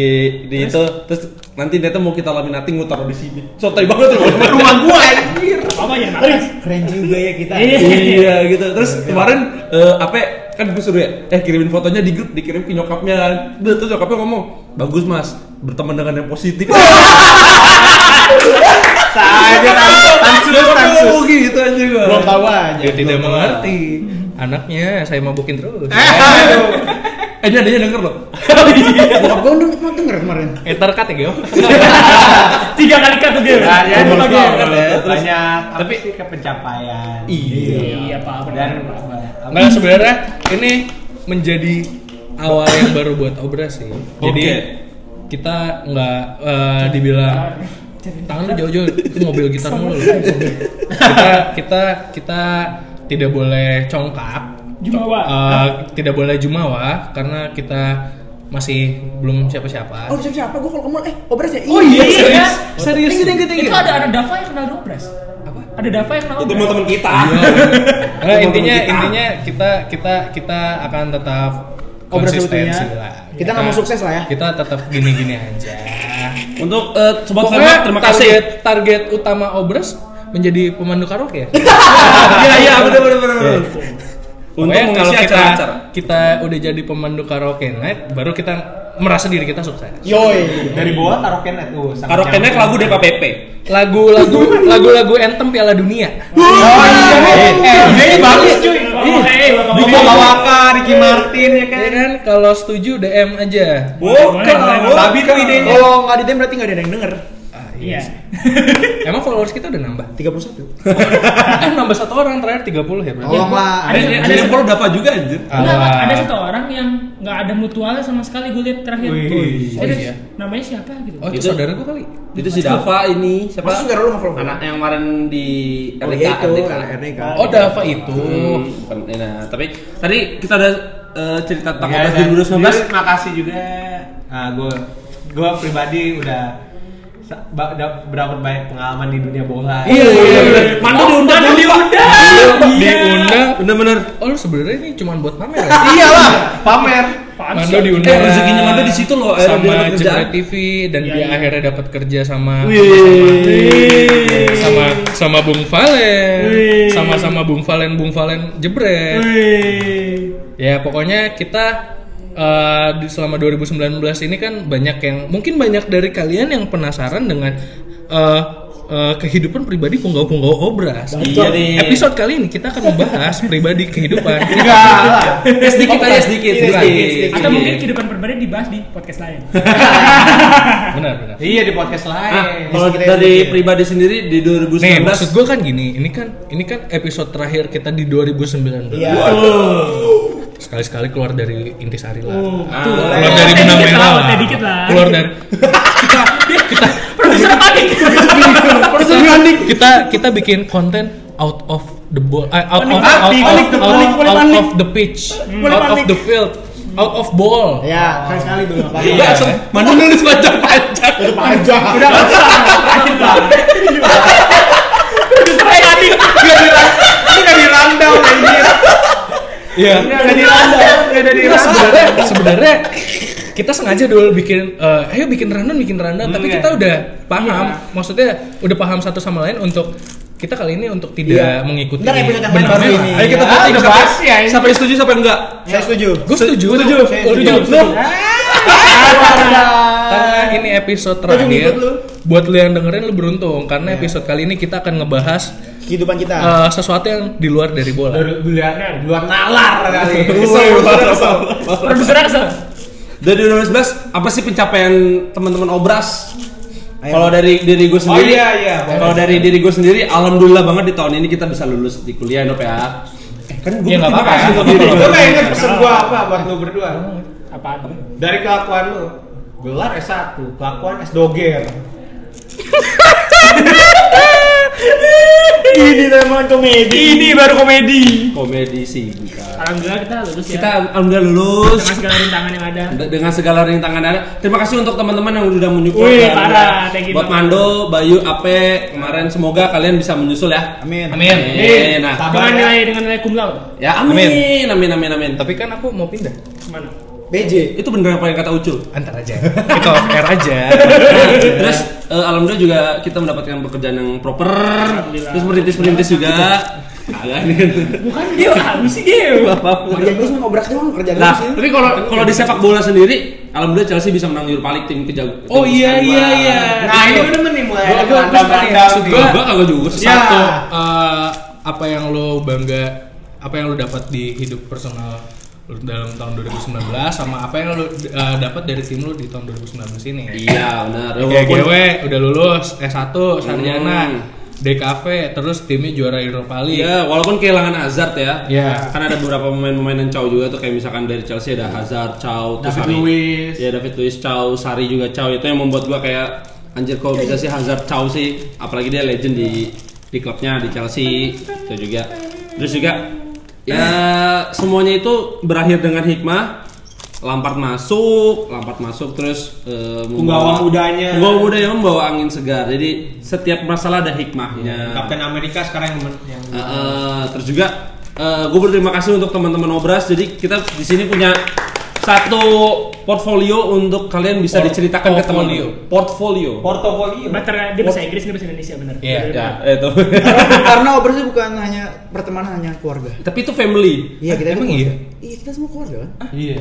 S1: di itu terus nanti dia tuh mau kita laminating mau taruh di sini. Sotoy banget tuh.
S2: Rumah gua anjir.
S4: Apa ya? Naris.
S3: Keren juga ya kita.
S4: Iya.
S1: iya gitu terus kemarin eh, apa kan gue suruh ya eh kirimin fotonya di grup dikirim ke nyokapnya kan Duh, terus nyokapnya ngomong bagus mas berteman dengan yang positif
S2: Saja tansus tansus.
S1: Oh, gitu aja gue
S3: Belum tahu aja.
S5: Dia tidak
S3: belum tahu.
S5: mengerti. Anaknya saya mabukin terus.
S2: Eh, aduh.
S1: eh ini adanya denger loh
S3: Bokap gue udah mau denger kemarin.
S5: Eh, terkat ya, Gio.
S4: Tiga kali cut
S5: Iya,
S4: tuh dia.
S2: Banyak
S4: Satu lagi.
S2: banyak ya? tapi sih kepencapaian.
S4: Iya, Pak. Benar.
S2: Dan
S5: Enggak Nah, sebenarnya ini menjadi awal yang baru buat obra sih. Jadi
S1: Oke.
S5: kita nggak eh, dibilang tangan lu jauh-jauh itu mobil gitar mulu. lu." kita kita kita tidak boleh congkak.
S4: Jumawa.
S5: Eh, tidak boleh jumawa karena kita masih belum siapa-siapa. Iya.
S3: Oh siapa siapa gue kalau ke mall eh obras ya.
S4: Oh iya, iya.
S5: serius.
S3: Tinggi tinggi tinggi.
S4: Itu ada ada Dava yang kenal Dobres.
S5: Apa?
S4: Ada Dava yang kenal
S1: itu
S4: Dobres.
S1: teman-teman kita
S5: Nggak,
S1: Teman-teman
S5: intinya
S1: kita.
S5: intinya kita kita kita akan tetap
S3: Obras
S5: konsistensi
S3: sebetulnya.
S5: lah.
S3: Oh, Kita nggak mau sukses lah ya.
S5: Kita tetap gini-gini aja.
S1: untuk eh, sobat
S5: Pokoknya
S1: Karma terima kasih
S5: Target, target utama Obras menjadi pemandu karaoke ya.
S1: iya iya bener bener bener bener. untuk
S5: Pokoknya kalau
S1: mengisi
S5: kita
S1: acara-acara
S5: kita udah jadi pemandu karaoke night, baru kita merasa diri kita sukses.
S3: Yoi.
S2: dari bawah taruh kenet tuh. sangat
S1: karaoke
S2: nyaman.
S1: naik lagu DPPP
S5: Lagu-lagu lagu-lagu anthem Piala Dunia.
S2: Oh iya, eh, ini bagus cuy.
S4: Welcome, hey, welcome,
S2: Diko
S4: hey.
S2: Bawaka, Ricky Martin ya kan.
S5: Ya kan kalau setuju DM aja.
S1: bukan kan. Iya,
S2: Babi tuh idenya.
S3: Kalau nggak di dem berarti nggak ada yang denger.
S4: Iya.
S5: Emang followers kita udah nambah?
S3: 31
S5: Eh, nambah satu orang terakhir 30
S4: Oh,
S5: ya berarti.
S3: Tolonglah.
S4: Ada
S1: ada
S4: ada
S1: yang follow Dava juga anjir
S4: Enggak,
S5: Alah.
S4: ada satu orang yang nggak ada mutualnya sama sekali gue lihat terakhir.
S2: Wih.
S4: Serius,
S5: Oh, iya.
S4: Namanya siapa gitu?
S5: Oh, itu
S1: Itu-
S5: saudara gua kali.
S1: itu si Dava ini siapa
S3: Masa saudara lu nggak follow?
S2: Iya,
S1: anaknya yang kemarin di
S3: Oh
S1: RDK
S3: iya itu
S1: RDK.
S3: anak RDK.
S5: Oh, Dava itu.
S1: Ah, Hmm, bukan Ena. tapi tadi kita ada eh, cerita tentang
S2: Ya,
S1: Obras
S2: dan
S1: 2019.
S2: Terima kasih juga. Nah, gue gue pribadi udah sa- ba- da- berdapat banyak pengalaman di dunia bola.
S1: Iya, iya, iya. Mandu
S4: Oh,
S1: diundang,
S4: Mandu diundang.
S5: Diundang.
S1: Bener-bener.
S5: Oh, lu sebenarnya ini cuma buat pamer ya?
S2: Iya lah, pamer.
S4: Apaan
S5: Mando
S4: sih?
S5: diundang.
S1: Eh, rezekinya Mando di situ loh, akhirnya dia
S5: Sama
S1: dapat kerjaan.
S5: Jepret TV dan
S4: Iya,
S5: dia
S4: iya.
S5: akhirnya dapat kerja sama
S1: Wih.
S5: sama sama Bung Valen.
S4: Wih.
S5: Sama-sama Bung Valen, Bung Valen Jebret.
S4: Wih.
S5: Ya pokoknya kita eh, di selama 2019 ini kan banyak yang mungkin banyak dari kalian yang penasaran dengan eh, eh, kehidupan pribadi punggawa-punggawa obras.
S1: Iya nih.
S5: Episode kali ini kita akan membahas pribadi kehidupan.
S2: Enggak lah.
S1: Eh, sedikit aja sedikit,
S3: Iya,
S1: sedikit.
S3: sedikit, sedikit.
S4: Atau mungkin kehidupan pribadi dibahas di podcast lain.
S5: benar benar.
S2: Iya di podcast
S1: Nah,
S5: Ah,
S2: lain.
S1: kalau
S3: Sedikit aja,
S1: dari
S3: sedikit.
S1: pribadi sendiri di
S5: Nih
S1: 2019
S5: maksud gue kan gini, ini kan ini kan episode terakhir kita di 2019.
S3: Iya.
S5: Sekali-sekali keluar dari intisari lah.
S1: Betul.
S5: Keluar dari
S4: Eh,
S5: benang
S4: dikit
S5: merah
S4: lah,
S5: lah.
S4: eh, dikit lah.
S5: Keluar dari kita kita
S4: Produser panik.
S5: kita, kita kita bikin konten out of the ball eh, out,
S4: Panik,
S5: of, out, of,
S4: panik,
S5: out,
S4: panik,
S5: out
S4: boleh panik.
S5: of the pitch
S4: Boleh
S5: out of
S4: panik.
S5: the field out of ball
S3: Ya, keren sekali tuh. nggak apa-apa.
S1: Iya, Mando nulis panjang-panjang.
S3: Itu panjang.
S2: Enggak di rundown anjir.
S5: Iya.
S2: Enggak di rundown, enggak di
S5: Nah,
S2: rundown.
S5: sebenarnya sebenarnya kita sengaja dulu bikin eh, ayo bikin rundown bikin rundown tapi
S2: Iya.
S5: kita udah paham maksudnya udah paham satu sama lain untuk kita kali ini untuk tidak
S3: Iya.
S5: mengikuti
S3: Ntar episode yang
S5: benang
S3: baru
S5: merah.
S3: ini.
S1: Ayo kita
S2: Ah,
S1: voting
S2: udah
S1: siapa-
S2: bahas ya, ini.
S1: siapa yang setuju siapa yang enggak.
S3: Saya setuju.
S5: Gue setuju.
S1: Setuju,
S5: Saya
S1: setuju.
S5: setuju.
S1: Lu.
S5: Karena ini episode terakhir. Buat lu yang dengerin lu beruntung karena episode kali ini kita akan ngebahas
S3: Kehidupan kita.
S5: eh, sesuatu yang di luar dari bola.
S2: Di luar nalar kali.
S4: Produser kesel.
S1: Dari 2019 apa sih pencapaian teman-teman obras?
S3: Ayo.
S1: Kalau dari diri gue sendiri,
S2: iya, iya.
S1: Kalau dari diri gue sendiri, alhamdulillah banget di tahun ini kita bisa lulus di kuliah Nop ya. Eh, kan gue
S5: Ya, nggak apa-apa.
S2: Lu gak inget pesen gua apa buat lu berdua?
S4: Apaan?
S2: Dari kelakuan lu Gelar S1, kelakuan S doger
S4: Ini memang komedi. Ini baru komedi.
S1: Komedi sih bukan.
S4: Alhamdulillah kita lulus ya.
S1: Kita alhamdulillah lulus
S4: dengan segala rintangan yang ada.
S1: De- dengan segala rintangan ada. Terima kasih untuk teman-teman yang udah menyupport.
S4: Wih,
S1: Dan
S4: parah.
S1: buat-
S4: Thank you
S1: Buat
S4: banget.
S1: Mando, Bayu, Ape, kemarin semoga kalian bisa menyusul ya.
S3: Amin.
S5: Amin.
S1: Eh, nah.
S2: Sabar
S4: Dengan
S2: ya.
S4: nilai dengan nilai cum laude.
S1: Ya amin, amin, amin, amin.
S5: Tapi kan aku mau pindah.
S4: Kemana?
S3: BJ.
S1: Itu bener apa yang kata Ucul?
S5: Antar aja. Iya. Kita off air aja.
S1: Nah, terus eh, alhamdulillah juga kita mendapatkan pekerjaan yang proper. Terus merintis-merintis juga. Kagak nih.
S4: Bukan dia tahu sih dia.
S1: Apa-apa.
S5: Iya,
S3: Kerjaan gue cuma ngobrak doang, kerjaan
S1: Nah,
S3: gue sih.
S1: tapi kalau kalau di sepak bola sendiri, alhamdulillah Chelsea bisa menang Europa League tim kejago.
S5: Oh iya iya iya.
S2: Nah ini udah nih mulai ada
S5: Gua- gua- gua suka nih,
S2: tanda-tanda
S5: maksud
S1: Gua gua kagak juga sih.
S2: Ya.
S5: Satu eh, apa yang lo bangga apa yang lo dapat di hidup personal lo dalam tahun 2019 sama apa yang lo eh, dapat dari tim lo di tahun 2019 ini.
S1: Iya, benar. Ya,
S5: Ya,
S1: walaupun-
S5: GW udah lulus S1 sarjana
S1: Hmm.
S5: DKV terus timnya juara Europa League.
S1: Iya, walaupun kehilangan Hazard ya.
S5: Iya.
S1: Kan ada beberapa pemain-pemain yang Chow juga tuh kayak misalkan dari Chelsea ada Hazard, Chow, terus
S2: David
S1: Sari.
S2: Luiz.
S1: Iya, David Luiz, Chow, Sari juga Chow. Itu yang membuat gua kayak anjir kok bisa sih Hazard, Chow sih. Apalagi dia legend di di klubnya di Chelsea itu juga. Terus juga ya semuanya itu berakhir dengan hikmah. Lampard masuk, Lampard masuk terus eh, membawa-
S2: Punggawa mudanya.
S1: Punggawa muda yang membawa angin segar. Jadi setiap masalah ada hikmahnya.
S2: Kapten Amerika sekarang yang, men- yang
S1: Uh, uh, terus juga gue berterima kasih untuk teman-teman obras. Jadi kita di sini punya satu portfolio untuk kalian bisa
S5: Port-
S1: diceritakan ke teman
S5: portfolio.
S1: portfolio.
S2: portofolio
S4: Bener dia bahasa Inggris, dia bahasa Indonesia bener.
S5: Iya,
S1: ya, itu.
S3: Karena obras itu bukan hanya pertemanan hanya keluarga.
S1: Tapi itu family.
S3: Iya, kita itu
S5: emang iya?
S3: keluarga. Iya, kita semua keluarga kan.
S5: Iya.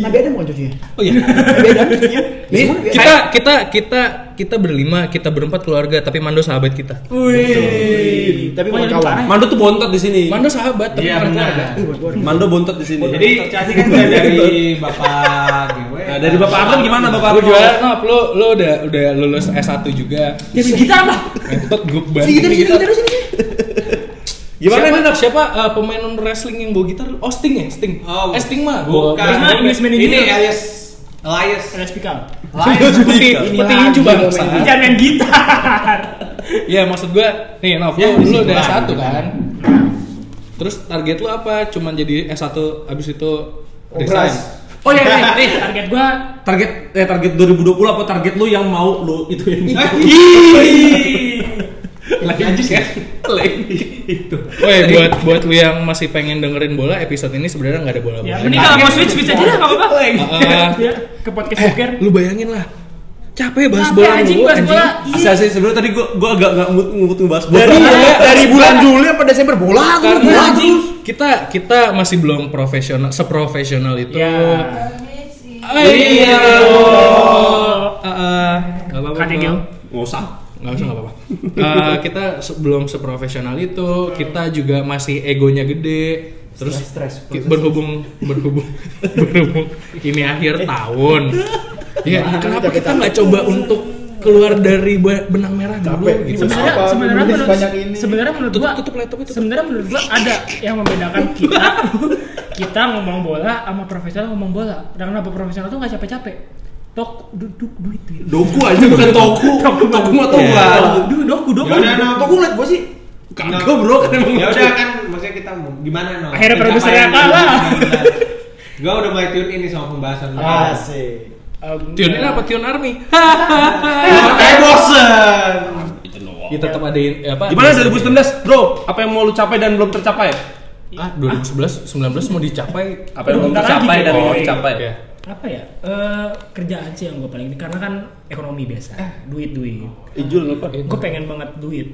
S3: Nabi Adam bukan cucunya.
S5: Oh iya.
S3: Nabi Adam cucunya. Ya,
S5: Nih,
S3: semua Nabi Adam.
S5: kita kita kita kita berlima, kita berempat keluarga, tapi Mando sahabat kita.
S1: Wih.
S3: Tapi
S4: Wah,
S3: bukan
S4: ini
S3: kawan.
S4: parah.
S1: Mando tuh bontot di sini.
S5: Mando sahabat, tapi
S2: Iya
S5: bukan
S2: benar
S5: keluarga.
S3: Ih, bukan keluarga.
S1: Mando bontot di sini.
S2: Jadi Caci kan udah dari Bapak GW
S1: Nah, dari Bapak Arnold gimana Bapak
S5: Lu
S1: Arnold?
S5: juara Nop, lu lu udah udah lulus S1 juga.
S4: Dia main gitar lah.
S5: Entot grup gitu.
S3: Sini
S5: banget.
S3: kita sini kita sini.
S5: Gimana
S1: Siapa?
S5: nih Nop? Siapa eh, pemain wrestling yang bawa gitar? Oh, Sting ya, Sting.
S2: Oh.
S5: eh, Sting mah.
S2: Bukan
S4: Karena Englishman ini-
S2: Ini Elias Elias
S4: Ada speaker.
S5: Lain seperti
S3: Ini
S5: seperti
S3: lagi
S5: inju
S3: gua
S5: bang.
S3: main
S4: Dia Jangan main gitar.
S5: Iya, maksud gua nih Nov,
S2: Ya, di
S5: lu lu
S2: situ
S5: udah
S2: lah.
S5: S1 kan. Terus target lu apa? Cuman jadi S1 abis itu resign.
S1: Oh iya, iya, nih.
S4: Eh, Target gua
S1: Target eh target 2020 apa target lu yang mau lu itu ini?
S5: Lagi anjing ya.
S1: itu.
S5: Woi, buat buat lu yang masih pengen dengerin bola, episode ini sebenarnya nggak ada bola.
S4: ya mending kalau mau switch switch aja lah enggak apa-apa.
S5: Iya.
S4: Ya, ke podcast poker.
S5: lu bayangin lah. Capek Eh, bahas
S4: Capek,
S5: bola
S4: anjing,
S5: mulu,
S4: bahas bola.
S1: Asli asli sebenarnya tadi gua gua agak enggak mood ngut ngebahas bola.
S3: dari bulan Juli sampai Desember bola terus
S5: Karena
S3: bola
S5: anjing,
S3: terus.
S5: kita kita masih belum profesional seprofesional itu.
S4: Ya.
S5: Oh, iya.
S4: Oh.
S5: Heeh. Nggak apa-apa.
S4: Kan ya, Gil?
S1: Nggak usah.
S5: Nggak usah nggak apa-apa. Eh, kita se- belum seprofesional itu, kita juga masih egonya gede. Terus
S3: Stres, stres,
S5: ki- berhubung berhubung berhubung ini akhir tahun. Ya, kenapa Eh. kita nggak coba untuk keluar dari ba- benang merah dulu
S3: Capek,
S5: gitu.
S3: ini
S4: sebenarnya
S3: Apa,
S4: sebenarnya
S3: menulis
S4: menurut
S3: banyak ini?
S4: sebenarnya menurut gua
S5: Tutup laptop itu.
S4: sebenarnya menurut gua ada yang membedakan kita kita ngomong bola sama profesional ngomong bola dan kenapa profesional tuh nggak capek-capek tok duduk duit duit
S1: Doku aja bukan toku. toku mah toku kan.
S4: Duh, doku doku
S2: Yaudah, Nop.
S3: Nah, Kok gue ngeliat gue sih?
S1: Kagak bro kan emang.
S2: ya udah kan maksudnya kita mau gimana no
S4: Akhirnya produsernya
S2: Pencapaian
S4: kalah.
S2: kita. gitu. gua udah mulai tune ini sama pembahasan
S3: Ah,
S2: lu.
S3: Asik.
S5: Tune ini apa Tune Army?
S2: eh bosen
S4: Iya,
S5: Ya tetap ada yang- apa?
S1: Gimana 2019 bro? Apa yang mau lu capai dan belum tercapai?
S5: Ah, 2011 19 mau dicapai.
S1: Apa yang belum
S4: Bentar lagi,
S1: tercapai dan
S4: Boy.
S1: mau dicapai?
S5: Ya.
S4: apa ya Eh, kerjaan sih yang gue paling karena kan ekonomi biasa
S5: Eh.
S4: duit duit
S5: Oh.
S1: Ijul lupa.
S4: gue pengen banget duit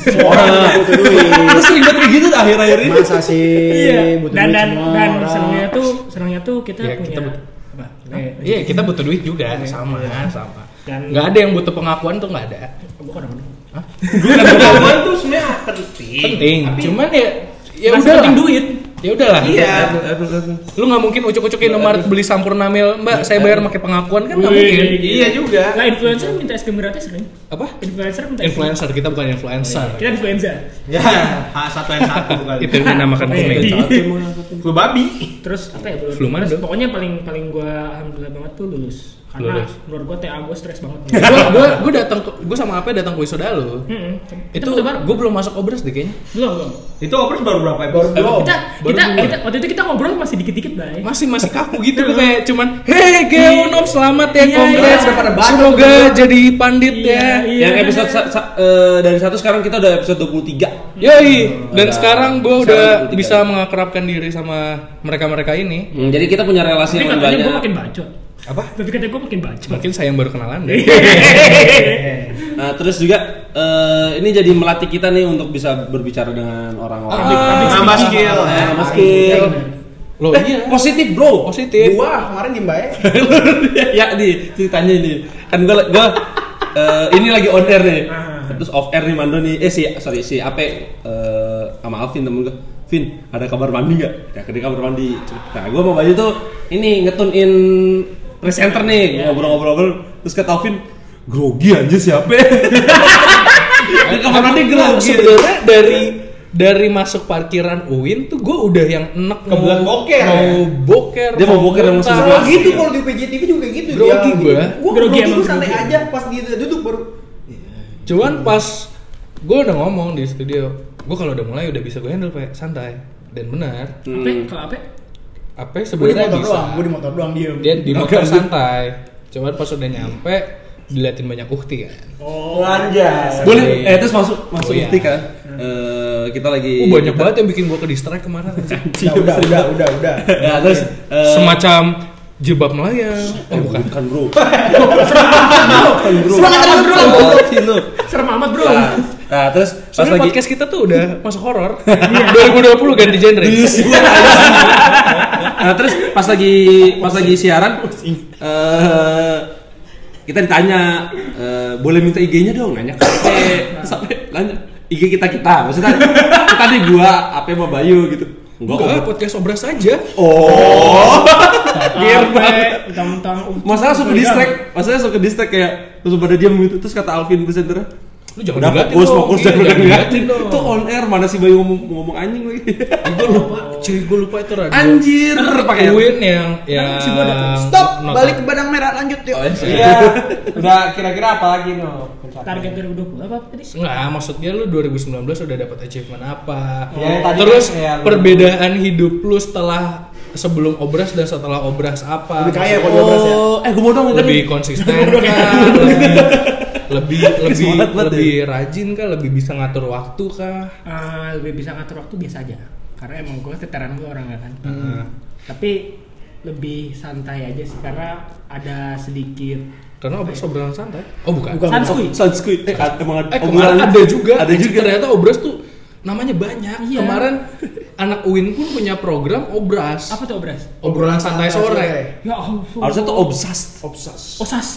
S3: Semua orang butuh duit.
S1: Lu sering banget kayak gitu tuh akhir-akhir ini.
S3: Masa sih butuh
S4: dan
S3: duit
S4: dan
S3: semua
S4: Iya. dan
S3: orang.
S4: senangnya tuh senangnya tuh kita
S5: Iya,
S4: punya
S5: kita butuh-
S4: apa? Eh,
S5: Iya, kita butuh duit juga sama, sama.
S4: Dan-
S5: Nggak ada yang butuh pengakuan tuh nggak ada.
S4: bukan bukan.
S2: Gua tuh sebenarnya penting
S4: Iya.
S5: Penting. Cuman ya ya
S4: Masih
S5: udah
S4: penting duit
S5: ya udahlah
S2: Iya.
S5: lu nggak mungkin ucuk-ucukin nomor beli sampurna mil mbak saya bayar pakai pengakuan kan nggak
S4: Wih.
S5: mungkin
S2: Iya juga.
S4: Nah, influencer minta es krim gratis kan?
S5: apa
S4: Influencer minta es krim.
S5: influencer kita bukan influencer
S4: Kita influencer.
S2: Ya, satu n satu kali.
S5: Iya. itu yang dinamakan
S4: Eh,
S5: komedi
S4: di-
S2: Flu babi.
S4: Terus apa ya? belum-
S5: Flu mana
S4: terus
S5: dong?
S4: Pokoknya paling paling gua alhamdulillah banget tuh lulus. Karena
S5: Lulus.
S4: menurut gua TA gua stres banget.
S5: gua gua gua datang ke- gua sama apa datang ke Wisoda lu
S4: Heeh.
S5: itu gua belum masuk obras deh kayaknya
S4: belum belum.
S2: Itu operasi baru berapa
S3: Baru
S2: episode?
S3: belum.
S4: Kita
S5: Oh, baru
S4: kita
S5: dua.
S4: kita waktu itu kita ngobrol masih dikit-dikit baik.
S5: masih masih kaku gitu gua kayak cuman hei Geonom selamat ya
S4: Iya,
S5: kongres
S4: iya.
S3: Udah pada baca
S5: semoga jadi pandit
S4: Iya,
S5: ya
S4: iya.
S1: Yang episode sa- sa- eh, dari satu sekarang kita udah episode 23
S5: Yoi,
S1: Hmm,
S5: dan sekarang
S1: Sekarang
S5: gue udah
S1: udah tiga.
S5: bisa mengakrabkan diri sama mereka-mereka ini.
S1: Hmm, jadi kita punya relasi
S4: Tapi
S1: yang
S4: katanya gua makin
S1: banyak.
S4: bacot.
S5: Apa?
S4: Tapi katanya gua makin bacot.
S5: Mungkin saya yang baru kenalan deh.
S1: Iya, Nah, terus juga eh, ini jadi melatih kita nih untuk bisa berbicara dengan orang-orang.
S2: Nambah skill.
S1: Eh,
S2: ya.
S1: sama skill. Eh,
S5: Loh iya,
S1: Positif, Bro.
S5: positif.
S3: Gua kemarin di Mbak
S1: Nah, ya di ceritanya ini kan gue gue ini lagi on air nih
S5: Ah.
S1: terus off air nih Mando nih eh si sorry si Ape eh, sama Alvin temen gue Vin ada kabar mandi nggak ya ke kamar mandi nah gue mau baju tuh ini ngetunin presenter
S5: Iya,
S1: nih ngobrol-ngobrol terus kata Alvin grogi aja si Ape di kamar mandi grogi
S5: Sebenarnya dari dari masuk parkiran UIN tuh gue udah yang enek
S2: Kebelet
S5: mau-
S2: boker.
S5: Mau boker.
S1: Dia mau boker emang
S5: muntah.
S1: susah
S3: Kalau
S1: banget.
S3: gitu kalau di PJ TV juga kayak gitu
S5: Grogi
S3: dia.
S5: gua.
S3: Gua
S4: Grogi
S3: grogi
S4: emang
S3: gua santai
S4: grogi.
S3: aja pas dia duduk baru
S5: Cuman pas gue udah ngomong di studio, gue kalau udah mulai udah bisa gue handle pak santai dan benar.
S1: Hmm.
S4: Apa? ya? Kalau apa?
S5: Apa
S3: gua di
S5: sebenarnya
S3: motor
S5: bisa?
S3: doang, gua di motor doang diem.
S5: Dia di motor santai. Cuman pas udah nyampe diliatin banyak ukti kan.
S3: Oh, anjas.
S1: boleh eh terus masuk masuk
S5: Oh, iya.
S1: Ukti kan Eh, kita lagi
S5: Uh, banyak banget yang bikin gua ke distract kemarin.
S3: Udah, udah, udah, udah, udah.
S1: ya terus
S5: Iya.
S1: eh,
S5: Semacam Oh, jebak melayang.
S1: eh, bukan bukan bro
S3: Semangat terus bro.
S1: Silo.
S4: Serem amat, Bro.
S1: Nah, nah, terus pas
S5: Soalnya
S1: lagi Iya.
S5: podcast kita tuh udah masuk horor. 2020 ganti genre.
S1: nah, terus pas lagi pas lagi siaran eh kita ditanya eh, boleh minta IG-nya dong nanya ke Ape. Terus Ape nanya IG kita kita maksudnya kita nih gua Ape sama Bayu gitu
S5: Enggak,
S1: enggak
S5: podcast obras aja.
S1: Oh. Gear
S5: Iya,
S1: banget.
S4: Tentang
S1: masalah suka distract masalah suka distract kayak terus pada diam gitu terus kata Alvin presenter
S5: Lu jangan
S1: udah
S5: diliatin
S1: fokus
S5: dong,
S1: fokus
S5: iya,
S1: jangan
S5: jangan
S1: ngeliatin
S5: diliatin dong.
S1: tuh on air mana si Bayu ngomong ngomong anjing lagi
S5: Gue lupa, cuy, gue lupa itu radio.
S1: Anjir, pakai
S5: Uin yang yang
S3: Stop,
S5: not-
S3: balik ke Padang Merah lanjut
S1: Oh,
S3: yuk.
S2: Iya. Udah kira-kira apa lagi no?
S4: target 2020 apa tadi sih?
S5: Enggak, maksudnya lu 2019 udah dapat achievement apa?
S2: Ya, yang tadi
S5: Terus
S2: kan, ya, lu-
S5: perbedaan hidup lu setelah sebelum obras dan setelah obras apa?
S3: Lebih kaya kalau diobras ya.
S1: Oh, eh gue mau dong
S5: lebih konsisten kah? lebih lebih lebih,
S1: Semangat banget
S5: lebih rajin kah? Lebih bisa ngatur waktu kah?
S4: Ah, lebih bisa ngatur waktu biasa aja. Karena emang gue keteran gue orang kan.
S5: Nah,
S4: Tapi lebih santai aja sih karena ada sedikit
S5: karena obras obrolan santai. Oh bukan.
S3: Bukan.
S4: Sanskui.
S1: Sanskui. Eh, emang ada,
S5: Eh
S1: obrolan-
S5: kemarin ada juga.
S1: Ada juga.
S5: Ternyata obras tuh namanya banyak.
S4: Iya.
S5: Kemarin anak Uin pun punya program obras.
S4: Apa tuh obras?
S5: Obrolan santai sore.
S4: Ya Allah.
S1: Harusnya tuh obsas.
S3: Obsas.
S4: osas.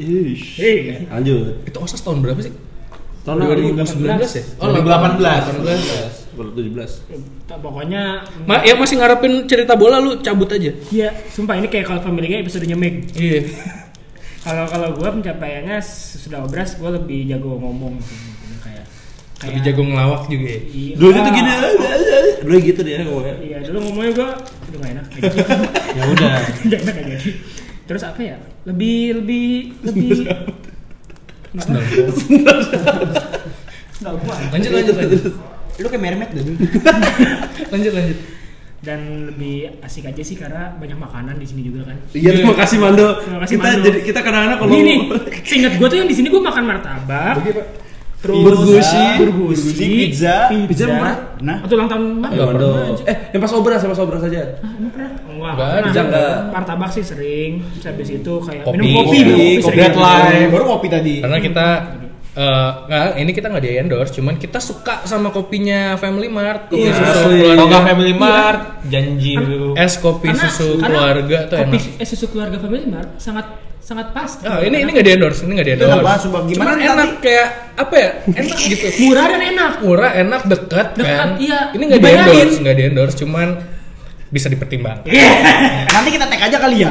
S1: Ish.
S4: Iya.
S1: Lanjut.
S5: Itu osas tahun berapa sih?
S1: Tahun kan,
S5: 2019 ya? Oh, 2018.
S1: 2017.
S4: Pokoknya
S5: Ma ya masih ngarepin cerita bola lu cabut aja.
S4: Iya, sumpah ini kayak kalau family guy episodenya Meg.
S5: Iya.
S4: Kalau kalau gue pencapaiannya sesudah obras gue lebih jago ngomong sih. mungkin. kayak
S5: Lebih jago ngelawak juga ya.
S4: Iya.
S1: Dulu itu gini. Dulu gitu dia ngomongnya.
S4: Iya, dulu ngomongnya gue udah gak enak.
S2: Ya udah.
S4: Gak enak gak jadi. Terus apa ya? Lebih lebih lebih Kenapa? Sendal gua.
S5: Lanjut lanjut lanjut.
S3: Lu kayak mermet deh.
S5: Lanjut lanjut.
S4: Dan lebih asik aja sih karena banyak makanan di sini juga kan.
S1: Iya, terima kasih Mando.
S4: Terima kasih,
S1: Kita
S4: Mando.
S1: jadi kita kadang-kadang kalau
S4: Ini nih, seingat gue tuh yang di sini gue makan martabak. Terus
S1: Burgusi.
S4: burgusi,
S3: Burgusi, pizza.
S1: Pizza
S4: pizza.
S1: pernah?
S4: Nah,
S3: Nah.
S4: atau ulang tahun mana?
S1: Eh, Mando.
S4: Pernah, anjing.
S1: Eh, yang pas obras, yang pas obras aja.
S4: Ah, emang pernah? Enggak,
S5: Enggak,
S4: pernah.
S1: pizza enggak.
S4: Martabak sih sering. Terus habis itu kayak
S5: Kopi.
S4: minum kopi,
S5: Kopi,
S4: minum
S1: kopi
S4: sering.
S2: deadline.
S3: Baru ngopi tadi.
S5: Karena kita eh, nggak, ini kita nggak di endorse, cuman kita suka sama kopinya Family Mart, kopi
S1: Iya,
S5: susu
S1: asli.
S5: keluarga,
S1: Boga
S2: Family Mart, janji lu.
S5: es kopi
S4: Karena-
S5: susu
S4: karena
S5: keluarga tuh
S4: kopi
S5: enak.
S4: eh, susu keluarga Family Mart sangat sangat pas.
S5: Ah, ini ini nggak di endorse, ini nggak di
S3: Itu
S5: endorse.
S3: enak banget, sumpah. Gimana
S5: Cuman
S3: nanti?
S5: enak kayak apa ya? Enak gitu.
S4: murah dan enak.
S5: Murah, enak, dekat kan.
S4: Dekat, iya.
S5: Ini nggak di
S4: Dibayarin.
S5: endorse, nggak di endorse, cuman bisa dipertimbangkan.
S3: Nanti kita tag aja kali ya.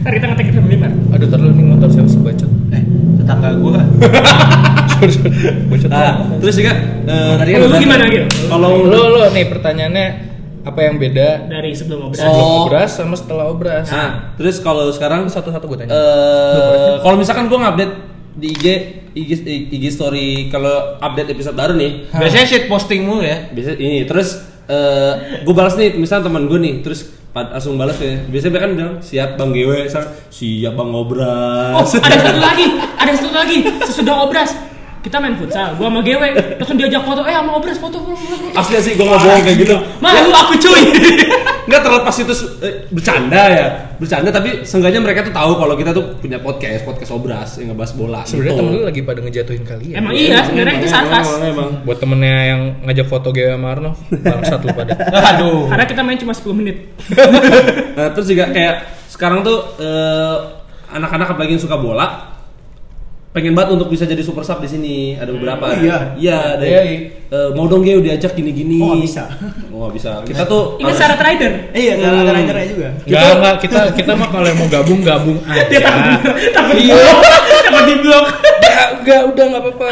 S4: Ntar kita ngetek ke Family Mart.
S5: Aduh, terlalu nih motor saya harus bacot.
S2: Eh, tetangga gua.
S5: Sorry, sorry. bacot.
S1: Nah,
S5: banget.
S1: terus juga eh, tadi kan
S4: Kalau lu
S1: udah-
S4: gimana gitu?
S1: Kalau
S5: Oh, lo lo nih pertanyaannya apa yang beda
S4: Dari sebelum ngobrol.
S5: sebelum
S1: Oh.
S5: obras sama setelah obras?
S4: Ah.
S1: Nah, terus kalau sekarang
S5: Satu-satu gue tanya.
S1: eh kalau misalkan gua ngupdate di IG IG IG story kalau update episode baru nih,
S2: Biasanya shit posting mulu ya.
S1: biasa ini terus eh gue balas nih misalnya teman gue nih terus pad- langsung balas ya biasanya mereka kan bilang siap bang Gewe Sang, siap bang
S4: Oh,
S1: Obras
S4: ada satu lagi, ada satu lagi. Sesudah obras, kita main futsal, gua sama Gewe, langsung diajak foto, eh sama obras foto foto foto. foto.
S1: asli sih gue nggak bohong kayak gitu
S4: Malu aku cuy.
S1: nggak terlepas itu eh, bercanda ya bercanda tapi seenggaknya mereka tuh tahu kalau kita tuh punya podcast podcast Obras yang ngebahas bola
S5: Sebenarnya
S1: gitu.
S5: temen lu lagi pada ngejatuhin kalian.
S4: Emang iya, sebenarnya itu
S1: Emang,
S4: sarkas.
S1: emang, emang.
S5: Buat temennya yang ngajak foto Gewa sama Arno, bangsat lu pada.
S2: Aduh.
S4: Karena kita main cuma 10 menit.
S1: Nah, terus juga kayak sekarang tuh eh, anak-anak apalagi yang suka bola pengen banget untuk bisa jadi super sub di sini. Ada beberapa.
S3: Oh, iya.
S1: Iya, ada.
S5: Iya, iya.
S1: eh, mau dong Geo diajak gini-gini.
S3: Oh, nggak bisa.
S1: Oh, nggak bisa. Kita tuh
S4: Ingat
S1: harus-
S4: syarat rider.
S3: Eh, Iya,
S1: Hmm.
S3: ada rider juga.
S5: Enggak, enggak, kita kita mah kalau mau gabung gabung aja.
S4: Dia takut, takut di blok, takut di blok.
S5: Enggak, enggak, udah enggak apa-apa.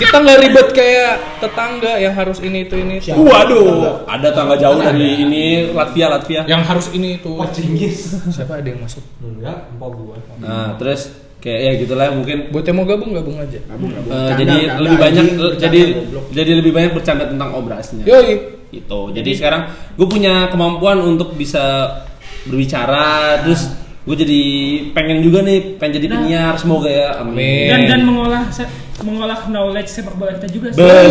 S5: Kita enggak ribet kayak tetangga yang harus ini itu ini. itu.
S1: Waduh, ada tangga jauh dari ini Latvia, Latvia.
S5: Yang harus ini itu.
S2: Oh, Jinggis.
S5: Siapa ada yang masuk?
S2: Enggak, empok gua.
S1: Nah, terus kayak ya gitulah mungkin
S5: Buat yang mau gabung gabung aja.
S1: eh, jadi lebih banyak jadi jadi lebih banyak bercanda tentang obrasnya.
S5: Yoi.
S1: gitu jadi sekarang gue punya kemampuan untuk bisa berbicara terus gue jadi pengen juga nih pengen jadi
S4: Nah.
S1: penyiar semoga ya
S5: Iya.
S1: amin
S4: Dan dan mengolah se- mengolah knowledge sepak bola kita juga. sih.
S1: bener